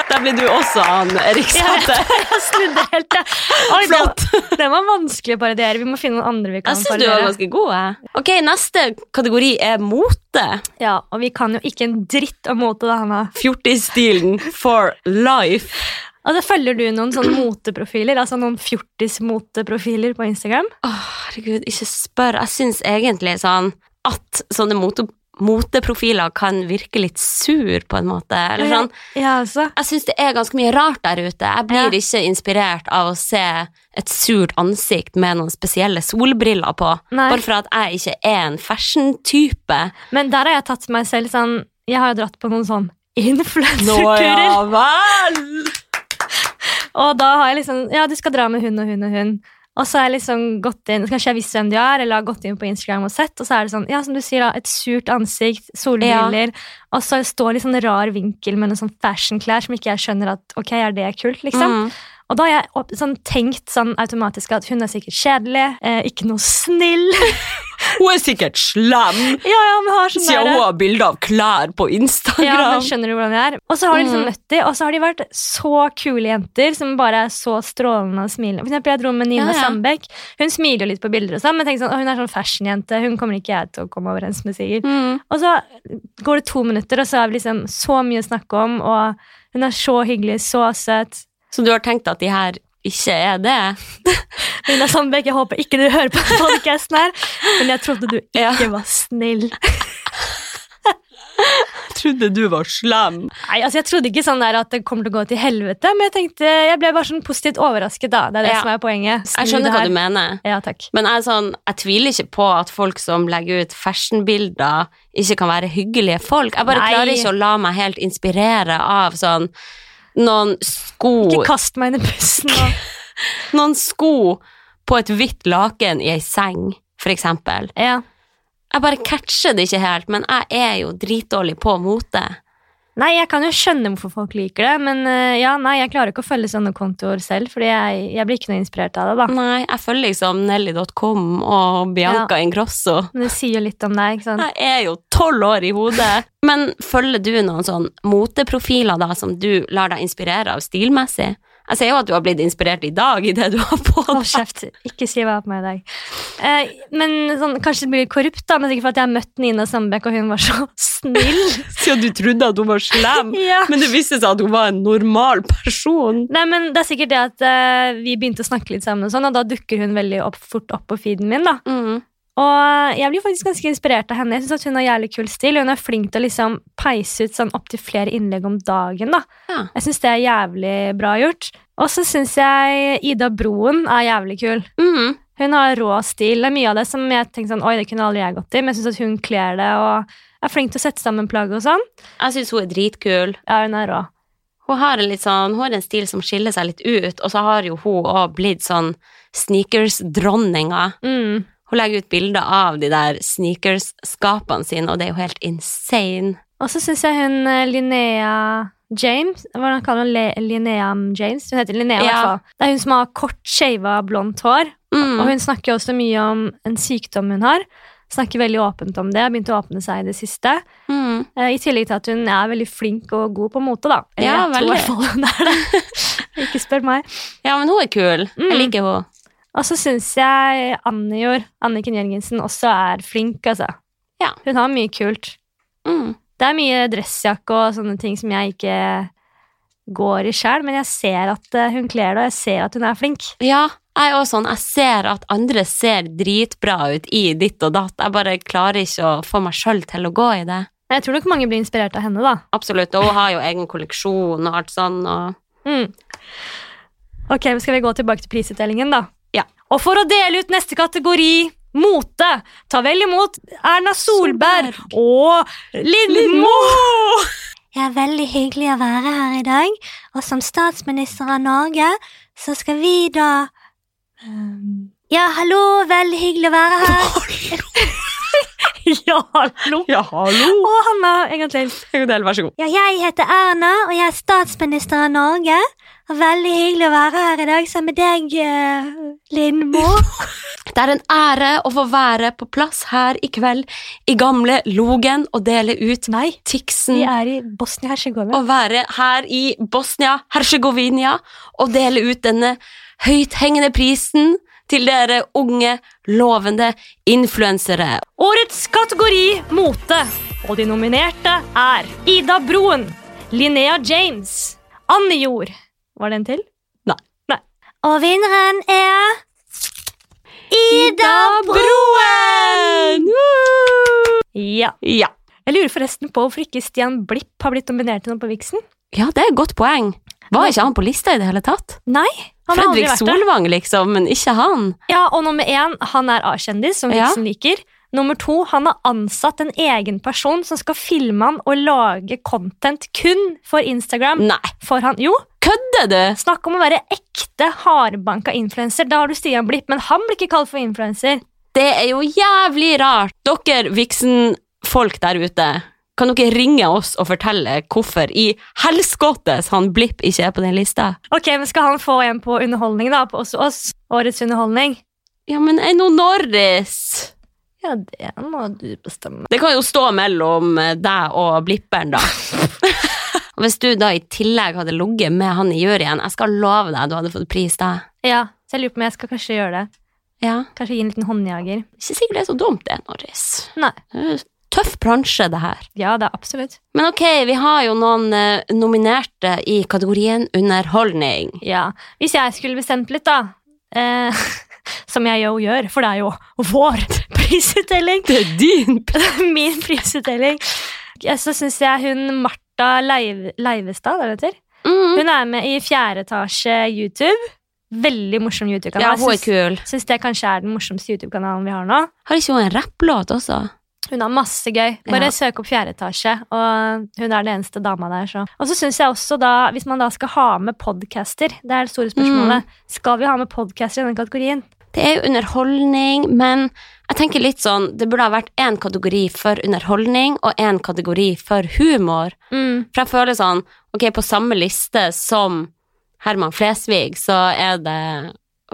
[SPEAKER 1] Der blir du også han, Eriksdatter.
[SPEAKER 2] Jeg snudde helt, jeg. Oi, den-
[SPEAKER 1] Flott.
[SPEAKER 2] Den var vanskelig å parodiere. Vi må finne noen andre vi kan
[SPEAKER 1] Jeg syns du var ganske god. Jeg. Ok, Neste kategori er mote.
[SPEAKER 2] Ja, og vi kan jo ikke en dritt om mote, da, Hanna.
[SPEAKER 1] Fjortisstilen for life.
[SPEAKER 2] Altså, følger du noen sånne moteprofiler? Altså noen fjortis-moteprofiler på Instagram?
[SPEAKER 1] Åh, herregud, ikke spør. Jeg syns egentlig sånn at sånne mote, moteprofiler kan virke litt sur, på en måte. Eller sånn.
[SPEAKER 2] Ja, altså.
[SPEAKER 1] Jeg syns det er ganske mye rart der ute. Jeg blir
[SPEAKER 2] Ja.
[SPEAKER 1] ikke inspirert av å se et surt ansikt med noen spesielle solbriller på.
[SPEAKER 2] Nei.
[SPEAKER 1] Bare for at jeg ikke er en fashion-type.
[SPEAKER 2] Men der har jeg tatt meg selv sånn Jeg har jo dratt på noen sånn influenserturer.
[SPEAKER 1] vel!
[SPEAKER 2] Og da har jeg liksom Ja, du skal dra med hun og hun og hun. Og så har jeg liksom gått inn Kanskje jeg visste hvem de er, eller har gått inn på Instagram og sett, og så er det sånn, ja, som du sier, da, et surt ansikt, solbriller, og så står det i sånn rar vinkel med noen sånn fashionklær som ikke jeg skjønner at ok, er det kult, liksom?
[SPEAKER 1] Mm.
[SPEAKER 2] Og da har jeg opp- sånn tenkt sånn automatisk at hun er sikkert kjedelig, eh, ikke noe snill.
[SPEAKER 1] Hun er sikkert slem,
[SPEAKER 2] ja, ja, men har sånn der-
[SPEAKER 1] har bilder av klær på
[SPEAKER 2] Ja,
[SPEAKER 1] Instagram.
[SPEAKER 2] men skjønner du hvordan det er? Og så har de liksom
[SPEAKER 1] Mhm.
[SPEAKER 2] møtt de, og så har de vært så kule jenter som bare er så strålende og smilende. For eksempel jeg dro med Nina
[SPEAKER 1] Ja, ja.
[SPEAKER 2] Sandbeck. Hun smiler jo litt på bilder og sånn, men tenker sånn, «Å, hun er sånn fashionjente, hun kommer ikke jeg til å komme overens med sikkert.
[SPEAKER 1] Mm.
[SPEAKER 2] Og så går det to minutter, og så har vi liksom så mye å snakke om, og hun er så hyggelig, så søt.
[SPEAKER 1] Så du har tenkt at de her ikke er det?
[SPEAKER 2] Nina Sandbeck, jeg håper ikke du hører på podcasten her, men jeg trodde du ikke
[SPEAKER 1] Ja.
[SPEAKER 2] var snill.
[SPEAKER 1] Jeg trodde du var slem.
[SPEAKER 2] Nei, altså jeg trodde ikke sånn der at det kommer til å gå til helvete, men jeg tenkte, jeg ble bare sånn positivt overrasket da, det er det
[SPEAKER 1] Ja.
[SPEAKER 2] som er poenget.
[SPEAKER 1] Jeg skjønner hva du mener.
[SPEAKER 2] Ja, takk.
[SPEAKER 1] Men jeg, er sånn, jeg tviler ikke på at folk som legger ut fashionbilder, ikke kan være hyggelige folk. Jeg bare
[SPEAKER 2] Nei.
[SPEAKER 1] klarer ikke å la meg helt inspirere av sånn noen sko,
[SPEAKER 2] Ikke kast meg under bussen nå.
[SPEAKER 1] noen sko på et hvitt laken i ei seng, for eksempel.
[SPEAKER 2] Ja.
[SPEAKER 1] Jeg bare catcher det ikke helt, men jeg er jo dritdårlig på mote.
[SPEAKER 2] Nei, jeg kan jo skjønne hvorfor folk liker det, men eh, ja, nei, jeg klarer ikke å følge sånne kontoer selv, fordi jeg, jeg blir ikke noe inspirert av det, da.
[SPEAKER 1] Nei, jeg følger liksom Nelly.com og Bianca Ingrosso.
[SPEAKER 2] Men det sier jo litt om deg, ikke sant?
[SPEAKER 1] Jeg er jo tolv år i hodet. Men følger du noen sånn moteprofiler da, som du lar deg inspirere av stilmessig? Jeg ser jo at du har blitt inspirert i dag i det du har på
[SPEAKER 2] Hold
[SPEAKER 1] deg.
[SPEAKER 2] kjeft, ikke si hva på meg i dag. Eh, men sånn, kanskje det blir korrupt, da, men sikkert for at jeg har møtt Nina Sandbeck, og hun var så snill.
[SPEAKER 1] Siden du trodde at hun var slem,
[SPEAKER 2] ja.
[SPEAKER 1] men det viste seg at hun var en normal person.
[SPEAKER 2] Nei, men det er sikkert det at eh, vi begynte å snakke litt sammen, og sånn, og da dukker hun veldig opp, fort opp på feeden min, da.
[SPEAKER 1] Mm.
[SPEAKER 2] Og eh, jeg blir faktisk ganske inspirert av henne. Jeg synes at Hun har jævlig kul stil, og hun er flink til å liksom peise ut sånn opptil flere innlegg om dagen. da.
[SPEAKER 1] Ja.
[SPEAKER 2] Jeg syns det er jævlig bra gjort. Og så syns jeg Ida Broen er jævlig kul.
[SPEAKER 1] Mm.
[SPEAKER 2] Hun har rå stil. Det er mye av det som jeg tenker sånn, oi, det kunne aldri jeg gått i, men jeg syns at hun kler det og er flink til å sette sammen plagg og sånn.
[SPEAKER 1] Jeg syns hun er dritkul.
[SPEAKER 2] Ja, hun er rå.
[SPEAKER 1] Hun har en litt sånn, hun har en stil som skiller seg litt ut, og så har jo hun òg blitt sånn sneakers-dronninga.
[SPEAKER 2] Mm.
[SPEAKER 1] Hun legger ut bilder av de der sneakers-skapene sine, og det er jo helt insane.
[SPEAKER 2] Og så syns jeg hun eh, Linnea James Hvordan kaller hun Le Linnea James? Hun heter Linnea, i
[SPEAKER 1] Ja.
[SPEAKER 2] hvert fall. Det er hun som har kort, shava, blondt hår.
[SPEAKER 1] Mm.
[SPEAKER 2] Og hun snakker jo også mye om en sykdom hun har. Snakker veldig åpent om det. Har begynt å åpne seg i det siste.
[SPEAKER 1] Mm.
[SPEAKER 2] Eh, I tillegg til at hun er veldig flink og god på mote, da. Eller
[SPEAKER 1] Ja,
[SPEAKER 2] jeg tror i hvert fall hun er det. Ikke spør meg.
[SPEAKER 1] Ja, men hun er kul.
[SPEAKER 2] Mm.
[SPEAKER 1] Jeg liker hun.
[SPEAKER 2] Og så syns jeg Anne Jord, Anniken Jørgensen, også er flink, altså.
[SPEAKER 1] Ja.
[SPEAKER 2] Hun har mye kult.
[SPEAKER 1] Mm.
[SPEAKER 2] Det er mye dressjakke og sånne ting som jeg ikke går i sjæl, men jeg ser at eh, hun kler det, og jeg ser at hun er flink.
[SPEAKER 1] Ja, jeg er også sånn, jeg ser at andre ser dritbra ut i ditt og datt. Jeg bare klarer ikke å få meg sjøl til å gå i det.
[SPEAKER 2] Jeg tror nok mange blir inspirert av henne, da.
[SPEAKER 1] Absolutt. Og hun har jo egen kolleksjon og alt sånn. Og...
[SPEAKER 2] Mm. Ok, men skal vi gå tilbake til prisutdelingen, da?
[SPEAKER 1] Ja.
[SPEAKER 2] Og for å dele ut neste kategori, mote, ta vel imot Erna Solberg, og Lindmo!
[SPEAKER 3] Det er veldig hyggelig å være her i dag, og som statsminister av Norge, så skal vi da ehm, Ja, hallo, veldig hyggelig å være her.
[SPEAKER 2] ja, hallo!
[SPEAKER 1] Ja, hallo!
[SPEAKER 2] Og Hanna, en gang til.
[SPEAKER 1] Vær så god.
[SPEAKER 3] Ja, jeg heter Erna, og jeg er statsminister av Norge. Og veldig hyggelig å være her i dag sammen med deg, eh, Lindmo.
[SPEAKER 1] Det er en ære å få være på plass her i kveld i gamle Logen og dele ut
[SPEAKER 2] Nei,
[SPEAKER 1] Tixen.
[SPEAKER 2] vi er i Bosnia-Hercegovina.
[SPEAKER 1] Å være her i Bosnia-Hercegovina og dele ut denne høythengende prisen til dere unge, lovende influensere.
[SPEAKER 2] Årets kategori mote, og de nominerte er Ida Broen, Linnea James, Anne Jord Var det en til?
[SPEAKER 3] Og vinneren er Ida
[SPEAKER 1] Broen!
[SPEAKER 2] Ja.
[SPEAKER 1] Ja.
[SPEAKER 2] Jeg lurer forresten på hvorfor ikke Stian Blipp har blitt nominert til noe på Vixen.
[SPEAKER 1] ja, det er et godt poeng. Var ikke han på lista i det hele tatt?
[SPEAKER 2] Nei, han har aldri
[SPEAKER 1] Fredrik
[SPEAKER 2] vært det.
[SPEAKER 1] Solvang, liksom, men ikke han.
[SPEAKER 2] Ja, og nummer én, han er A-kjendis, som
[SPEAKER 1] Ja.
[SPEAKER 2] Vixen liker. Nummer to, han har ansatt en egen person som skal filme han og lage content kun for Instagram.
[SPEAKER 1] Nei,
[SPEAKER 2] For han, jo,
[SPEAKER 1] kødder du?
[SPEAKER 2] Snakk om å være ekte hardbanka influenser. Da har du Stian Blipp, men han blir ikke kalt for influenser.
[SPEAKER 1] Det er jo jævlig rart. Dere Vixen-folk der ute, kan dere ringe oss og fortelle hvorfor i helskottes han Blipp ikke er på den lista?
[SPEAKER 2] Ok, men Skal han få en på underholdning, da? På også oss? Årets underholdning?
[SPEAKER 1] Ja, men er nå Norris?
[SPEAKER 2] Ja, det må du bestemme.
[SPEAKER 1] Det kan jo stå mellom eh, deg og blipperen, da. Og Hvis du da i tillegg hadde ligget med han i juryen, jeg skal love deg du hadde fått pris da.
[SPEAKER 2] Ja, så jeg lurer på om jeg skal kanskje gjøre det.
[SPEAKER 1] Ja.
[SPEAKER 2] Kanskje gi en liten håndjager.
[SPEAKER 1] Ikke sikkert det er så dumt, det, Norris.
[SPEAKER 2] Nei.
[SPEAKER 1] Det er jo Tøff bransje, det her.
[SPEAKER 2] Ja, det er absolutt.
[SPEAKER 1] Men ok, vi har jo noen eh, nominerte i kategorien underholdning.
[SPEAKER 2] Ja. Hvis jeg skulle bestemt litt, da eh, Som jeg jo gjør, for det er jo vår prisutdeling.
[SPEAKER 1] Det er din pris!
[SPEAKER 2] min prisutdeling. Ja, Så syns jeg hun Martha Leiv Leivestad, er det det heter?
[SPEAKER 1] Mm.
[SPEAKER 2] Hun er med i fjerde etasje YouTube. Veldig morsom YouTube-kanal.
[SPEAKER 1] Ja, hun er
[SPEAKER 2] Jeg syns-
[SPEAKER 1] kul.
[SPEAKER 2] syns det kanskje er den morsomste YouTube-kanalen vi har nå.
[SPEAKER 1] Har ikke hun en rapplåt også?
[SPEAKER 2] Hun har masse gøy. Bare
[SPEAKER 1] Ja.
[SPEAKER 2] søk opp fjerde etasje, og hun er den eneste dama der. Så. Og så syns jeg også da, hvis man da skal ha med podcaster, det er det store spørsmålet, skal vi ha med podcaster i denne kategorien?
[SPEAKER 1] Det er jo underholdning, men jeg tenker litt sånn, det burde ha vært én kategori for underholdning og én kategori for humor.
[SPEAKER 2] Mm.
[SPEAKER 1] For jeg føler sånn, ok, på samme liste som Herman Flesvig, så er det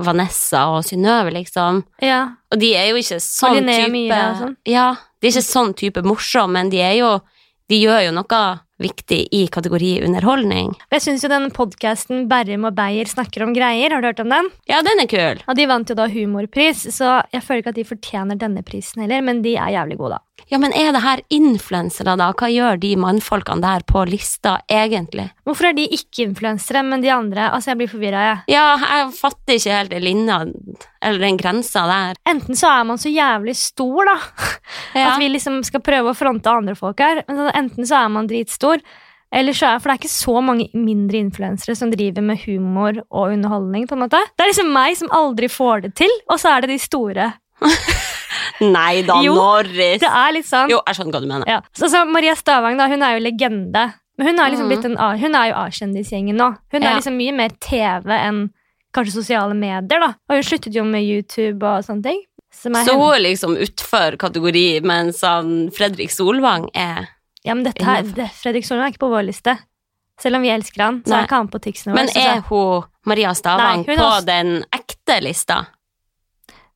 [SPEAKER 1] Vanessa og Synnøve, liksom.
[SPEAKER 2] Ja.
[SPEAKER 1] Og de er jo ikke sånn
[SPEAKER 2] Linnea
[SPEAKER 1] type
[SPEAKER 2] Myhre og sånn.
[SPEAKER 1] Ja, de er ikke sånn type morsom, men de er jo De gjør jo noe viktig i kategori underholdning.
[SPEAKER 2] Jeg syns jo den podkasten Berrum og Beyer snakker om greier, har du hørt om den?
[SPEAKER 1] Ja, den er kul.
[SPEAKER 2] Og de vant jo da humorpris, så jeg føler ikke at de fortjener denne prisen heller, men de er jævlig gode, da.
[SPEAKER 1] Ja, men er det her influensere, da? Hva gjør de mannfolkene der på lista, egentlig?
[SPEAKER 2] Hvorfor er de ikke influensere, men de andre? Altså, jeg blir forvirra, jeg.
[SPEAKER 1] Ja, jeg fatter ikke helt den linja, eller den grensa der.
[SPEAKER 2] Enten så er man så jævlig stor, da,
[SPEAKER 1] Ja.
[SPEAKER 2] at vi liksom skal prøve å fronte andre folk her. Men sånn, enten så er man dritstor, eller så er For det er ikke så mange mindre influensere som driver med humor og underholdning, på en måte. Det er liksom meg som aldri får det til, og så er det de store.
[SPEAKER 1] Nei da,
[SPEAKER 2] Jo,
[SPEAKER 1] Norris!
[SPEAKER 2] Det er litt sånn.
[SPEAKER 1] Jo, jeg skjønner hva du mener.
[SPEAKER 2] Ja. Så, så Maria Stavang da, hun er jo legende. Men hun er, liksom
[SPEAKER 1] Mhm.
[SPEAKER 2] blitt en, A- hun er jo A-kjendisgjengen nå. Hun
[SPEAKER 1] Ja.
[SPEAKER 2] er liksom mye mer TV enn kanskje sosiale medier. da. Og hun sluttet jo med YouTube og sånne ting. Som er
[SPEAKER 1] Så
[SPEAKER 2] hen-
[SPEAKER 1] hun er liksom utfor kategori, mens han Fredrik Solvang er
[SPEAKER 2] ja, men dette her, det, Fredrik Solvang er ikke på vår liste. Selv om vi elsker han, så
[SPEAKER 1] Nei.
[SPEAKER 2] er ikke han på Tixen vår.
[SPEAKER 1] Men er hun Maria Stavang
[SPEAKER 2] Nei, hun er
[SPEAKER 1] på
[SPEAKER 2] også-
[SPEAKER 1] den ekte lista?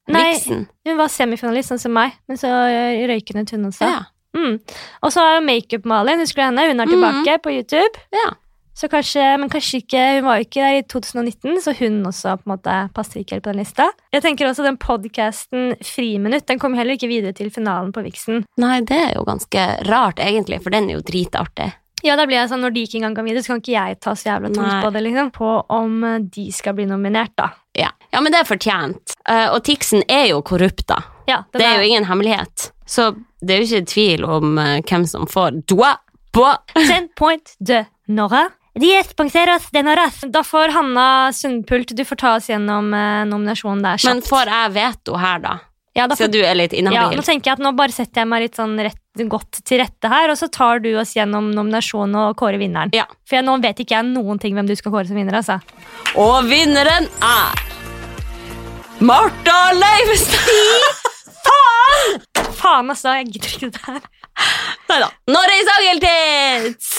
[SPEAKER 2] Nei,
[SPEAKER 1] Vixen?
[SPEAKER 2] hun var semifinalist, sånn som meg, men så ø, røyken ut, hun også.
[SPEAKER 1] Ja.
[SPEAKER 2] Mm. Og så er jo makeup-Malin, husker du henne? Hun er
[SPEAKER 1] Mhm.
[SPEAKER 2] tilbake på YouTube.
[SPEAKER 1] Ja.
[SPEAKER 2] Så kanskje, men kanskje ikke, hun var jo ikke der i 2019, så hun også på en måte passer ikke helt på den lista. Jeg tenker også den podkasten Friminutt den kom heller ikke videre til finalen på Vixen.
[SPEAKER 1] Nei, det er jo ganske rart, egentlig, for den er jo dritartig.
[SPEAKER 2] Ja, da blir jeg sånn, Når de ikke engang kan videre, så kan ikke jeg ta så jævla tungt
[SPEAKER 1] Nei.
[SPEAKER 2] på det. liksom, På om eh, de skal bli nominert, da.
[SPEAKER 1] Ja. ja, men det er fortjent. Eh, og Tixen er jo korrupt, da.
[SPEAKER 2] Ja, den
[SPEAKER 1] Det er jo ingen hemmelighet. Så det er jo ikke tvil om eh, hvem som får doa på.
[SPEAKER 2] Ten point de Nora.
[SPEAKER 3] Diez ponceros de noras.
[SPEAKER 2] Da får Hanna Sundpult, du får ta oss gjennom eh, nominasjonen der.
[SPEAKER 1] Men
[SPEAKER 2] kjapt.
[SPEAKER 1] får jeg veto her, da?
[SPEAKER 2] ja, da får,
[SPEAKER 1] Siden du er litt
[SPEAKER 2] ja,
[SPEAKER 1] inhabil.
[SPEAKER 2] nå tenker jeg at nå bare setter jeg meg litt sånn rett, godt til rette her, og så tar du oss gjennom nominasjonen og kårer vinneren.
[SPEAKER 1] Ja.
[SPEAKER 2] For jeg, nå vet ikke jeg noen ting hvem du skal kåre som vinner, altså.
[SPEAKER 1] Og vinneren er Martha Leivestad!
[SPEAKER 2] Faen, altså, jeg gidder ikke det her.
[SPEAKER 1] Nei da. Norris Angeltits!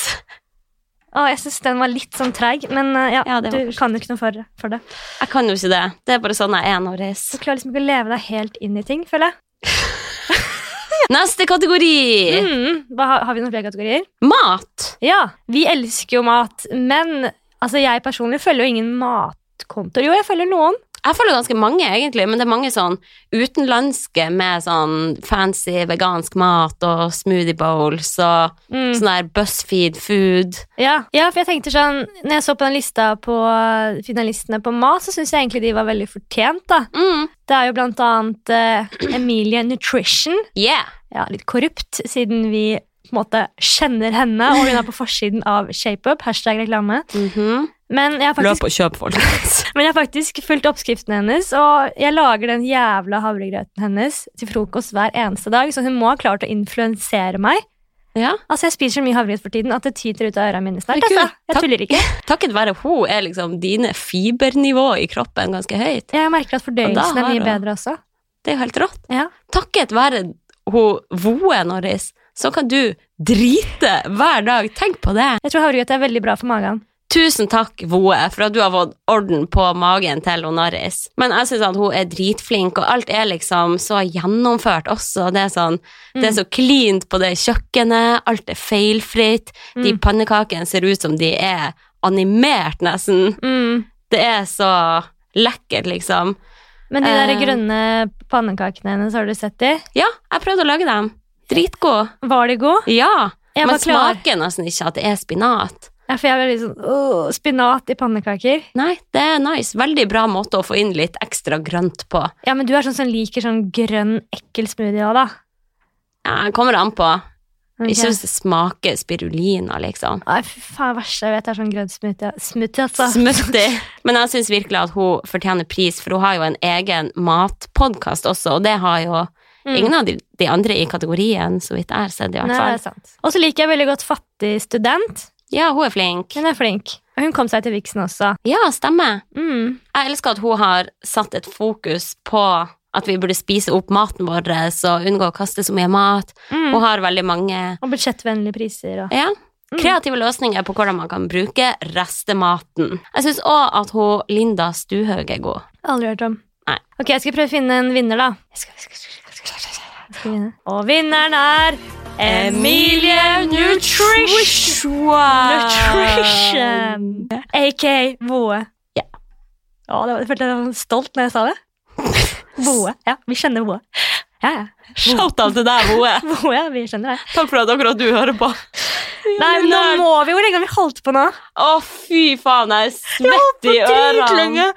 [SPEAKER 2] Å, jeg syns den var litt sånn treig, men eh, ja,
[SPEAKER 1] Ja, det var
[SPEAKER 2] du kan jo ikke noe for, for det.
[SPEAKER 1] Jeg kan jo ikke det. Det er bare sånn jeg er, Norris.
[SPEAKER 2] Du klarer liksom ikke å leve deg helt inn i ting, føler jeg.
[SPEAKER 1] Neste kategori.
[SPEAKER 2] Mm, hva, har- har vi noen flere kategorier?
[SPEAKER 1] Mat.
[SPEAKER 2] Ja, vi elsker jo mat, men altså, jeg personlig følger jo ingen matkontoer. Jo, jeg følger noen.
[SPEAKER 1] Jeg føler ganske mange, egentlig, men det er mange sånn utenlandske med sånn fancy vegansk mat og smoothie bowls og
[SPEAKER 2] Mm.
[SPEAKER 1] sånn der BuzzFeed food.
[SPEAKER 2] Ja. ja, for jeg tenkte sånn, når jeg så på den lista på eh, finalistene på mat, så syns jeg egentlig de var veldig fortjent, da.
[SPEAKER 1] Mm,
[SPEAKER 2] Det er jo blant annet eh, Emilie Nutrition.
[SPEAKER 1] yeah.
[SPEAKER 2] Ja, litt korrupt, siden vi på en måte kjenner henne, og hun er på forsiden av ShapeUp, hashtag reklame.
[SPEAKER 1] Mhm.
[SPEAKER 2] Men jeg har
[SPEAKER 1] Løp
[SPEAKER 2] faktisk
[SPEAKER 1] og kjøp, folkens.
[SPEAKER 2] Men jeg har faktisk fulgt oppskriften hennes, og jeg lager den jævla havregrøten hennes til frokost hver eneste dag, så hun må ha klart å influensere meg.
[SPEAKER 1] ja.
[SPEAKER 2] Altså, Jeg spiser så mye havregrøt for tiden at det tyter ut av ørene mine snart.
[SPEAKER 1] Det er kult.
[SPEAKER 2] Altså. Jeg
[SPEAKER 1] Takk.
[SPEAKER 2] tuller ikke.
[SPEAKER 1] Takket være hun er liksom dine fibernivå i kroppen ganske høyt.
[SPEAKER 2] Jeg merker at
[SPEAKER 1] Ja,
[SPEAKER 2] fordøyelsen
[SPEAKER 1] da
[SPEAKER 2] er
[SPEAKER 1] har
[SPEAKER 2] mye
[SPEAKER 1] du-
[SPEAKER 2] bedre også.
[SPEAKER 1] Det er jo helt rått.
[SPEAKER 2] Ja.
[SPEAKER 1] Takket være hun Voe Norris, så kan du drite hver dag. Tenk på det.
[SPEAKER 2] Jeg tror havregrøt er veldig bra for magen.
[SPEAKER 1] Tusen takk, Voe, for at du har fått orden på magen til hun Norris. Men jeg syns at hun er dritflink, og alt er liksom så gjennomført også. Det er, sånn, det
[SPEAKER 2] Mm.
[SPEAKER 1] er så cleant på det kjøkkenet, alt er feilfritt. De
[SPEAKER 2] Mm.
[SPEAKER 1] pannekakene ser ut som de er animert, nesten.
[SPEAKER 2] Mm.
[SPEAKER 1] Det er så lekkert, liksom.
[SPEAKER 2] Men de der
[SPEAKER 1] Eh.
[SPEAKER 2] grønne pannekakene hennes, har du sett de?
[SPEAKER 1] Ja, jeg prøvde å lage dem. Dritgode.
[SPEAKER 2] Var de gode?
[SPEAKER 1] Ja, men
[SPEAKER 2] Jeg var klar.
[SPEAKER 1] smaker nesten ikke at det er spinat.
[SPEAKER 2] Ja, for jeg ble litt sånn åh, spinat i pannekaker.
[SPEAKER 1] Nei, det er nice. Veldig bra måte å få inn litt ekstra grønt på.
[SPEAKER 2] Ja, men du er sånn som liker sånn grønn, ekkel smoothie òg, da.
[SPEAKER 1] Ja, det kommer an på.
[SPEAKER 2] Ok.
[SPEAKER 1] Ikke hvis det smaker spirulina, liksom.
[SPEAKER 2] Nei, fy faen, det verste jeg vet er sånn grønn smoothie. Smoothie, altså.
[SPEAKER 1] Smuttig. Men jeg syns virkelig at hun fortjener pris, for hun har jo en egen matpodkast også, og det har jo
[SPEAKER 2] Mm.
[SPEAKER 1] ingen av de, de andre i kategorien, så vidt jeg har sett, i
[SPEAKER 2] Nei, altså.
[SPEAKER 1] hvert
[SPEAKER 2] det er
[SPEAKER 1] fall.
[SPEAKER 2] sant. Og så liker jeg veldig godt fattig student.
[SPEAKER 1] Ja, hun er flink.
[SPEAKER 2] Hun er flink. Og hun kom seg til Vixen også.
[SPEAKER 1] Ja, stemmer.
[SPEAKER 2] Mm.
[SPEAKER 1] Jeg elsker at hun har satt et fokus på at vi burde spise opp maten vår og unngå å kaste så mye mat.
[SPEAKER 2] Mm.
[SPEAKER 1] Hun har veldig mange
[SPEAKER 2] Og budsjettvennlige priser. Og.
[SPEAKER 1] ja,
[SPEAKER 2] Mm.
[SPEAKER 1] kreative løsninger på hvordan man kan bruke restematen. Jeg syns òg at hun Linda Stuhaug er god.
[SPEAKER 2] Aldri hørt om.
[SPEAKER 1] Nei.
[SPEAKER 2] Ok, jeg skal prøve å finne en vinner, da. Jeg skal, jeg skal, jeg skal, jeg skal, jeg skal vinne. Og vinneren er Emilie Nutrition! Nutrition! AK Voe.
[SPEAKER 1] Ja.
[SPEAKER 2] Å, det var, jeg følte jeg var stolt når jeg sa det. Voe. Ja, vi kjenner Voe. Ja, ja.
[SPEAKER 1] Shout-out til deg, Moe.
[SPEAKER 2] Voe, vi kjenner det.
[SPEAKER 1] Takk for at akkurat du hører på.
[SPEAKER 2] Nei, men nå må vi jo lenge har vi holdt på nå.
[SPEAKER 1] Å, fy faen, jeg er svett i ørene.
[SPEAKER 2] Dritlenge.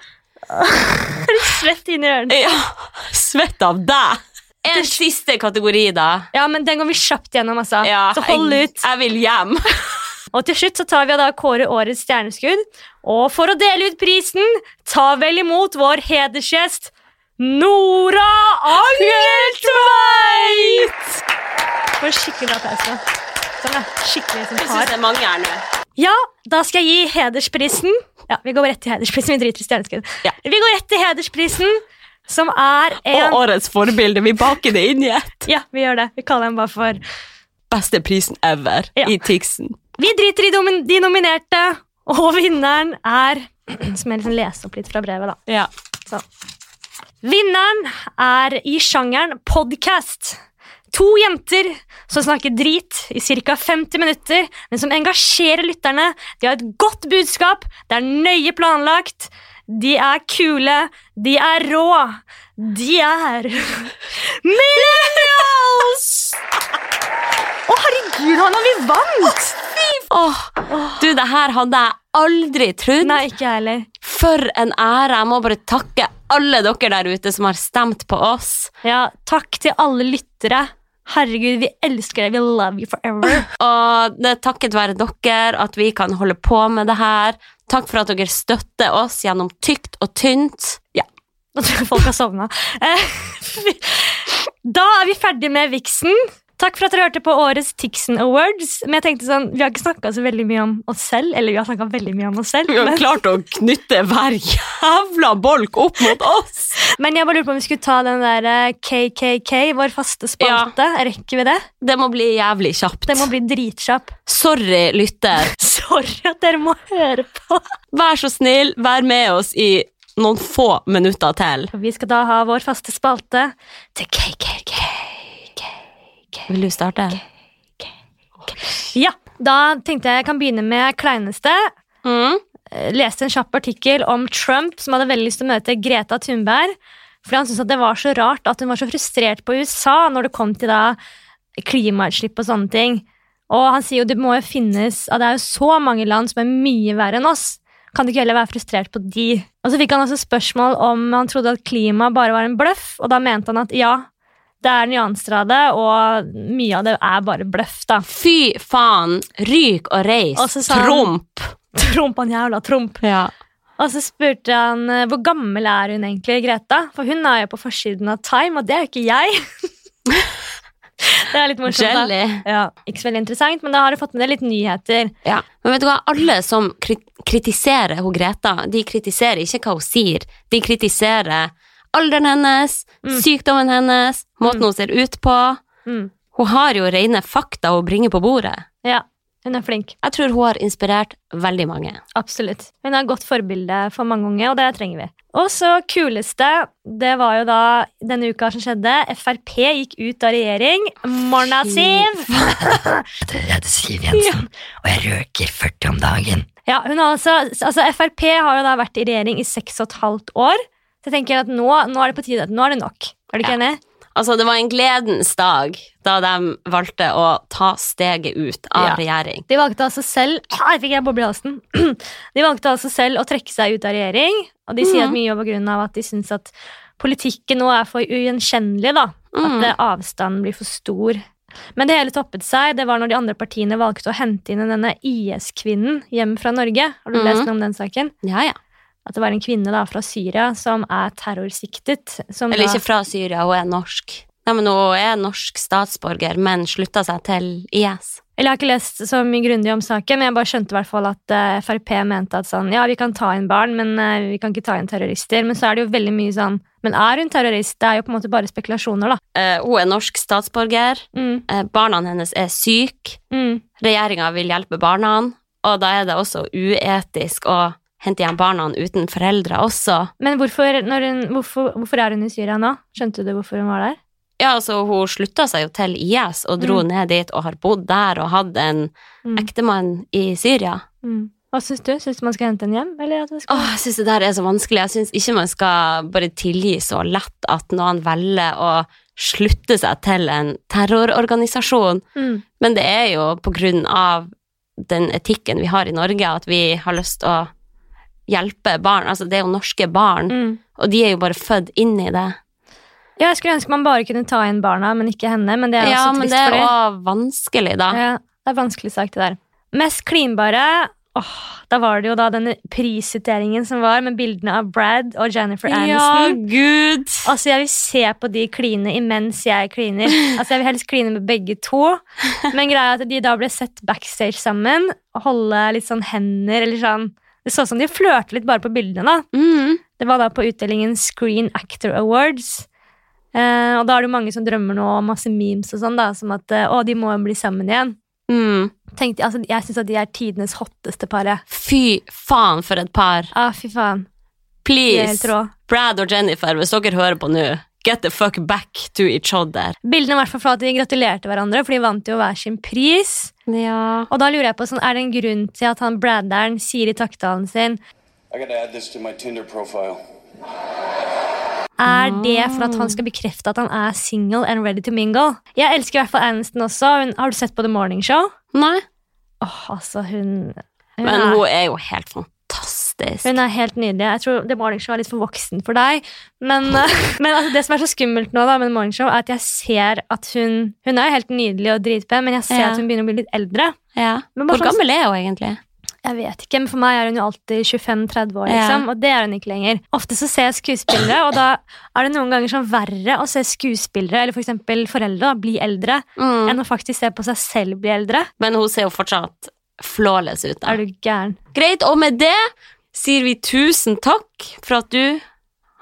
[SPEAKER 2] Er du svett inn i ørene?
[SPEAKER 1] Ja, svett av deg. En siste kategori, da.
[SPEAKER 2] Ja, men den går vi kjapt gjennom, altså.
[SPEAKER 1] Ja,
[SPEAKER 2] så hold
[SPEAKER 1] jeg,
[SPEAKER 2] ut.
[SPEAKER 1] Jeg vil hjem.
[SPEAKER 2] Og til slutt så tar vi og da Kåre årets stjerneskudd. Og for å dele ut prisen, ta vel imot vår hedersgjest Nora Angeltveit! Få en skikkelig applaus nå. Sånn, ja. Skikkelig som
[SPEAKER 1] Jeg syns
[SPEAKER 2] par.
[SPEAKER 1] det er mange her nå.
[SPEAKER 2] Ja, da skal jeg gi hedersprisen. Ja, vi går rett til hedersprisen. Vi driter i stjerneskudd.
[SPEAKER 1] Ja.
[SPEAKER 2] Vi går rett til hedersprisen, som er
[SPEAKER 1] Og
[SPEAKER 2] en
[SPEAKER 1] årets forbilde. Vi baker det inn i ett.
[SPEAKER 2] Ja, vi gjør det. Vi kaller den bare for
[SPEAKER 1] Beste prisen ever
[SPEAKER 2] Ja.
[SPEAKER 1] i Tixen.
[SPEAKER 2] Vi driter i domin- de nominerte, og vinneren er Som jeg liksom lese opp litt fra brevet, da.
[SPEAKER 1] Ja.
[SPEAKER 2] Sånn. Vinneren er i sjangeren podcast. To jenter som snakker drit i ca. 50 minutter, men som engasjerer lytterne. De har et godt budskap, det er nøye planlagt. De er kule, de er rå. De er Millennials! Å, herregud, Hanna, vi vant!
[SPEAKER 1] Åh, du, det her hadde jeg aldri trodd.
[SPEAKER 2] Nei, ikke jeg heller.
[SPEAKER 1] For en ære. Jeg må bare takke alle dere der ute som har stemt på oss.
[SPEAKER 2] Ja, takk til alle lyttere. Herregud, vi elsker deg. We love you forever.
[SPEAKER 1] Og det er takket være dere at vi kan holde på med det her. Takk for at dere støtter oss gjennom tykt og tynt. Ja.
[SPEAKER 2] Nå tror jeg folk har sovna. Eh, vi- Da er vi ferdig med viksen. Takk for at dere hørte på årets Tixen Awards. Men jeg tenkte sånn, Vi har ikke snakka så veldig mye om oss selv. Eller vi har snakket veldig mye om oss selv men,
[SPEAKER 1] klart å knytte hver jævla bolk opp mot oss.
[SPEAKER 2] men jeg bare lurte på om vi skulle ta den der eh, KKK, vår faste spalte. Rekker vi det?
[SPEAKER 1] Det må bli jævlig kjapt.
[SPEAKER 2] Den må bli dritkjapp.
[SPEAKER 1] Sorry, lytter.
[SPEAKER 2] Sorry at dere må høre på.
[SPEAKER 1] Vær så snill, vær med oss i noen få minutter til.
[SPEAKER 2] Vi skal da ha vår faste spalte til KKK.
[SPEAKER 1] Vil du starte?
[SPEAKER 2] Ja, Da tenkte jeg jeg kan begynne med kleineste.
[SPEAKER 1] Mm.
[SPEAKER 2] eh, leste en kjapp artikkel om Trump som hadde veldig lyst til å møte Greta Thunberg. Fordi han syntes at det var så rart at hun var så frustrert på USA når det kom til da klimautslipp og sånne ting. Og han sier jo det må jo finnes at det er jo så mange land som er mye verre enn oss. Kan du ikke heller være frustrert på de? Og så fikk han også spørsmål om han trodde at klima bare var en bløff, og da mente han at ja, det er nyanser av det, og mye av det er bare bløff, da.
[SPEAKER 1] Fy faen. Ryk og reis.
[SPEAKER 2] Og så sa han-
[SPEAKER 1] Tromp.
[SPEAKER 2] Trump, han jævla Trump.
[SPEAKER 1] Ja.
[SPEAKER 2] Og så spurte han eh, hvor gammel er hun egentlig, Greta? For hun er jo på forsiden av Time, og det er jo ikke jeg. det er litt morsomt. Da.
[SPEAKER 1] Jelly.
[SPEAKER 2] Ja, ikke så veldig interessant, men da har du fått med deg litt nyheter.
[SPEAKER 1] Ja. Men vet du hva, alle som kri kritiserer hun Greta, de kritiserer ikke hva hun sier. De kritiserer alderen hennes,
[SPEAKER 2] Mm.
[SPEAKER 1] sykdommen hennes, måten hun ser ut på.
[SPEAKER 2] Mm.
[SPEAKER 1] Hun har jo rene fakta å bringe på bordet.
[SPEAKER 2] Ja, hun er flink.
[SPEAKER 1] Jeg tror hun har inspirert veldig mange.
[SPEAKER 2] Absolutt. Hun er et godt forbilde for mange unge, og det trenger vi. Og så kuleste, det var jo da denne uka som skjedde. Frp gikk ut av regjering. Morna,
[SPEAKER 1] Fy
[SPEAKER 2] Siv!
[SPEAKER 4] Jeg heter Siv Jensen, og jeg røker 40 om dagen.
[SPEAKER 2] Ja, hun har altså, altså Frp har jo da vært i regjering i seks og et halvt år. Så jeg tenker at nå, nå er det på tide. at Nå er det nok. Er du ikke
[SPEAKER 1] Ja.
[SPEAKER 2] enig?
[SPEAKER 1] Altså, det var en gledens dag da de valgte å ta steget ut av
[SPEAKER 2] Ja.
[SPEAKER 1] regjering.
[SPEAKER 2] De valgte altså selv Ai, fikk jeg boble i halsen. De valgte altså selv å trekke seg ut av regjering. Og de sier
[SPEAKER 1] Mhm.
[SPEAKER 2] at mye var på grunn av at de syns at politikken nå er for ugjenkjennelig. da. At
[SPEAKER 1] Mm.
[SPEAKER 2] eh, avstanden blir for stor. Men det hele toppet seg. Det var når de andre partiene valgte å hente inn denne IS-kvinnen hjem fra Norge. Har du
[SPEAKER 1] Mhm.
[SPEAKER 2] lest noe om den saken?
[SPEAKER 1] Ja, ja.
[SPEAKER 2] At det var en kvinne da fra Syria som er terrorsiktet. Som
[SPEAKER 1] Eller
[SPEAKER 2] da,
[SPEAKER 1] ikke fra Syria, hun er norsk. Nei, men hun er norsk statsborger, men slutta seg til IS.
[SPEAKER 2] Eller jeg har ikke lest så mye grundig om saken, men jeg bare skjønte i hvert fall at eh, Frp mente at sånn, ja, vi kan ta inn barn, men eh, vi kan ikke ta inn terrorister. Men så er det jo veldig mye sånn Men er hun terrorist? Det er jo på en måte bare spekulasjoner, da.
[SPEAKER 1] Eh, hun er norsk statsborger.
[SPEAKER 2] Mm,
[SPEAKER 1] Eh, barna hennes er syke.
[SPEAKER 2] mm,
[SPEAKER 1] Regjeringa vil hjelpe barna. Og da er det også uetisk å hente igjen barna uten foreldre også.
[SPEAKER 2] Men hvorfor, når hun, hvorfor, hvorfor er hun i Syria nå? Skjønte du hvorfor hun var der?
[SPEAKER 1] Ja, altså, hun slutta seg jo til IS og dro ned dit og har bodd der og hatt en
[SPEAKER 2] Mm,
[SPEAKER 1] ektemann i Syria.
[SPEAKER 2] mm. Hva syns du? Syns du man skal hente henne hjem? Eller at det skal...
[SPEAKER 1] Åh, jeg syns det der er så vanskelig. Jeg syns ikke man skal bare tilgi så lett at noen velger å slutte seg til en terrororganisasjon.
[SPEAKER 2] Mm,
[SPEAKER 1] Men det er jo på grunn av den etikken vi har i Norge, at vi har lyst til å hjelpe barn. Altså, det er jo norske barn,
[SPEAKER 2] mm.
[SPEAKER 1] og de er jo bare født inn i det.
[SPEAKER 2] Ja, jeg skulle ønske man bare kunne ta inn barna, men ikke henne. Men det er
[SPEAKER 1] Ja,
[SPEAKER 2] også
[SPEAKER 1] men
[SPEAKER 2] trist
[SPEAKER 1] det er
[SPEAKER 2] for dem.
[SPEAKER 1] òg vanskelig, da.
[SPEAKER 2] Ja, det er vanskelig sak, det der. Mest klinbare åh, Da var det jo da denne prisutdelingen som var, med bildene av Brad og Jennifer Aniston.
[SPEAKER 1] gud!
[SPEAKER 2] Altså, Jeg vil se på de kline imens jeg kliner. Altså, Jeg vil helst kline med begge to. Men greia er at de da ble sett backstage sammen og holde litt sånn hender eller sånn. Det så ut som de flørte litt bare på bildene. da.
[SPEAKER 1] Mm.
[SPEAKER 2] Det var da på utdelingen Screen Actor Awards. Eh, og da er det jo mange som drømmer nå om masse memes og sånn, da, som at eh, å, de må jo bli sammen igjen
[SPEAKER 1] Mm.
[SPEAKER 2] tenkte, altså, jeg syns at de er tidenes hotteste par. jeg.
[SPEAKER 1] Fy faen, for et par.
[SPEAKER 2] Ah, fy faen. De er helt
[SPEAKER 1] Please,
[SPEAKER 2] rå.
[SPEAKER 1] Brad og Jennifer, hvis dere hører på nå, get the fuck back to each other.
[SPEAKER 2] Bildene var i hvert fall fra at de gratulerte hverandre, for de vant jo hver sin pris.
[SPEAKER 1] Ja.
[SPEAKER 2] Og da lurer jeg på, sånn, Er det en grunn til at han Bradderen sier i takttalen sin
[SPEAKER 5] I gotta add this to my Tinder profile.
[SPEAKER 2] Er det
[SPEAKER 1] Ah.
[SPEAKER 2] for at han skal bekrefte at han er single and ready to mingle? Jeg elsker i hvert fall Aniston også. Hun, har du sett på The Morning Show?
[SPEAKER 1] Nei,
[SPEAKER 2] Åh, altså, hun hun
[SPEAKER 1] men
[SPEAKER 2] er-
[SPEAKER 1] hun er jo helt fantastisk.
[SPEAKER 2] Hun er helt nydelig. Jeg tror The Morning Show er litt for voksen for deg. Men, men altså, det som er så skummelt nå, da, med The Morning Show, er at jeg ser at hun Hun er jo helt nydelig og dritpen, men jeg ser
[SPEAKER 1] Ja.
[SPEAKER 2] at hun begynner å bli litt eldre.
[SPEAKER 1] Ja.
[SPEAKER 2] Men bare
[SPEAKER 1] Hvor
[SPEAKER 2] sånn-
[SPEAKER 1] gammel er hun egentlig?
[SPEAKER 2] Jeg vet ikke, men For meg er hun jo alltid 25-30 år,
[SPEAKER 1] Ja.
[SPEAKER 2] liksom, og det er hun ikke lenger. Ofte så ser jeg skuespillere, og da er det noen ganger sånn verre å se skuespillere eller for eksempel foreldre da, bli eldre,
[SPEAKER 1] Mm.
[SPEAKER 2] enn å faktisk se på seg selv bli eldre.
[SPEAKER 1] Men hun ser jo fortsatt flawless ut. Da.
[SPEAKER 2] Er du gæren?
[SPEAKER 1] Greit, og med det sier vi tusen takk for at du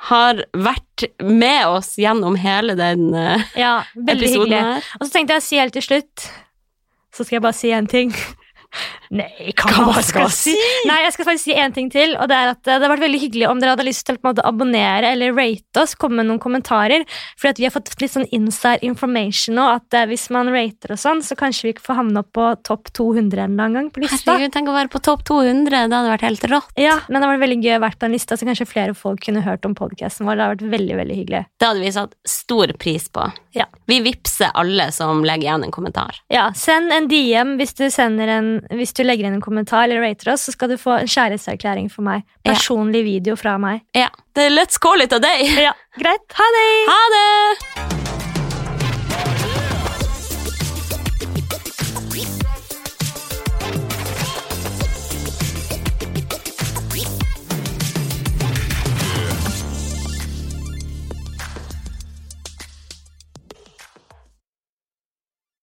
[SPEAKER 1] har vært med oss gjennom hele den eh,
[SPEAKER 2] Ja, veldig
[SPEAKER 1] episoden
[SPEAKER 2] hyggelig.
[SPEAKER 1] her.
[SPEAKER 2] Og så tenkte jeg å si helt til slutt Så skal jeg bare si en ting. Nei, hva,
[SPEAKER 1] Hva skal jeg si?
[SPEAKER 2] Nei, jeg skal faktisk si en ting til. Og Det er at eh, det hadde vært veldig hyggelig om dere hadde lyst til å på en måte abonnere eller rate oss. Komme med noen kommentarer. Fordi at vi har fått litt sånn inside information nå. At eh, hvis man rater og sånn, så kanskje vi ikke får havne opp på topp 200 en eller annen gang på lista.
[SPEAKER 1] Herregud, tenk å være på topp 200. Det hadde vært helt rått.
[SPEAKER 2] Ja, men det var veldig gøy å være på den lista, så kanskje flere folk kunne hørt om podkasten vår. Det hadde vært veldig, veldig hyggelig.
[SPEAKER 1] Det hadde vi satt stor pris på.
[SPEAKER 2] Ja.
[SPEAKER 1] Vi vippser alle som legger igjen en kommentar.
[SPEAKER 2] Ja, Send en DM hvis du, sender en, hvis du legger inn en kommentar eller rater oss, så skal du få en kjærlighetserklæring for meg.
[SPEAKER 1] Ja.
[SPEAKER 2] Personlig video fra meg.
[SPEAKER 1] Ja. Det, let's call it a day.
[SPEAKER 2] Ja, Greit. Ha det!
[SPEAKER 1] Ha det!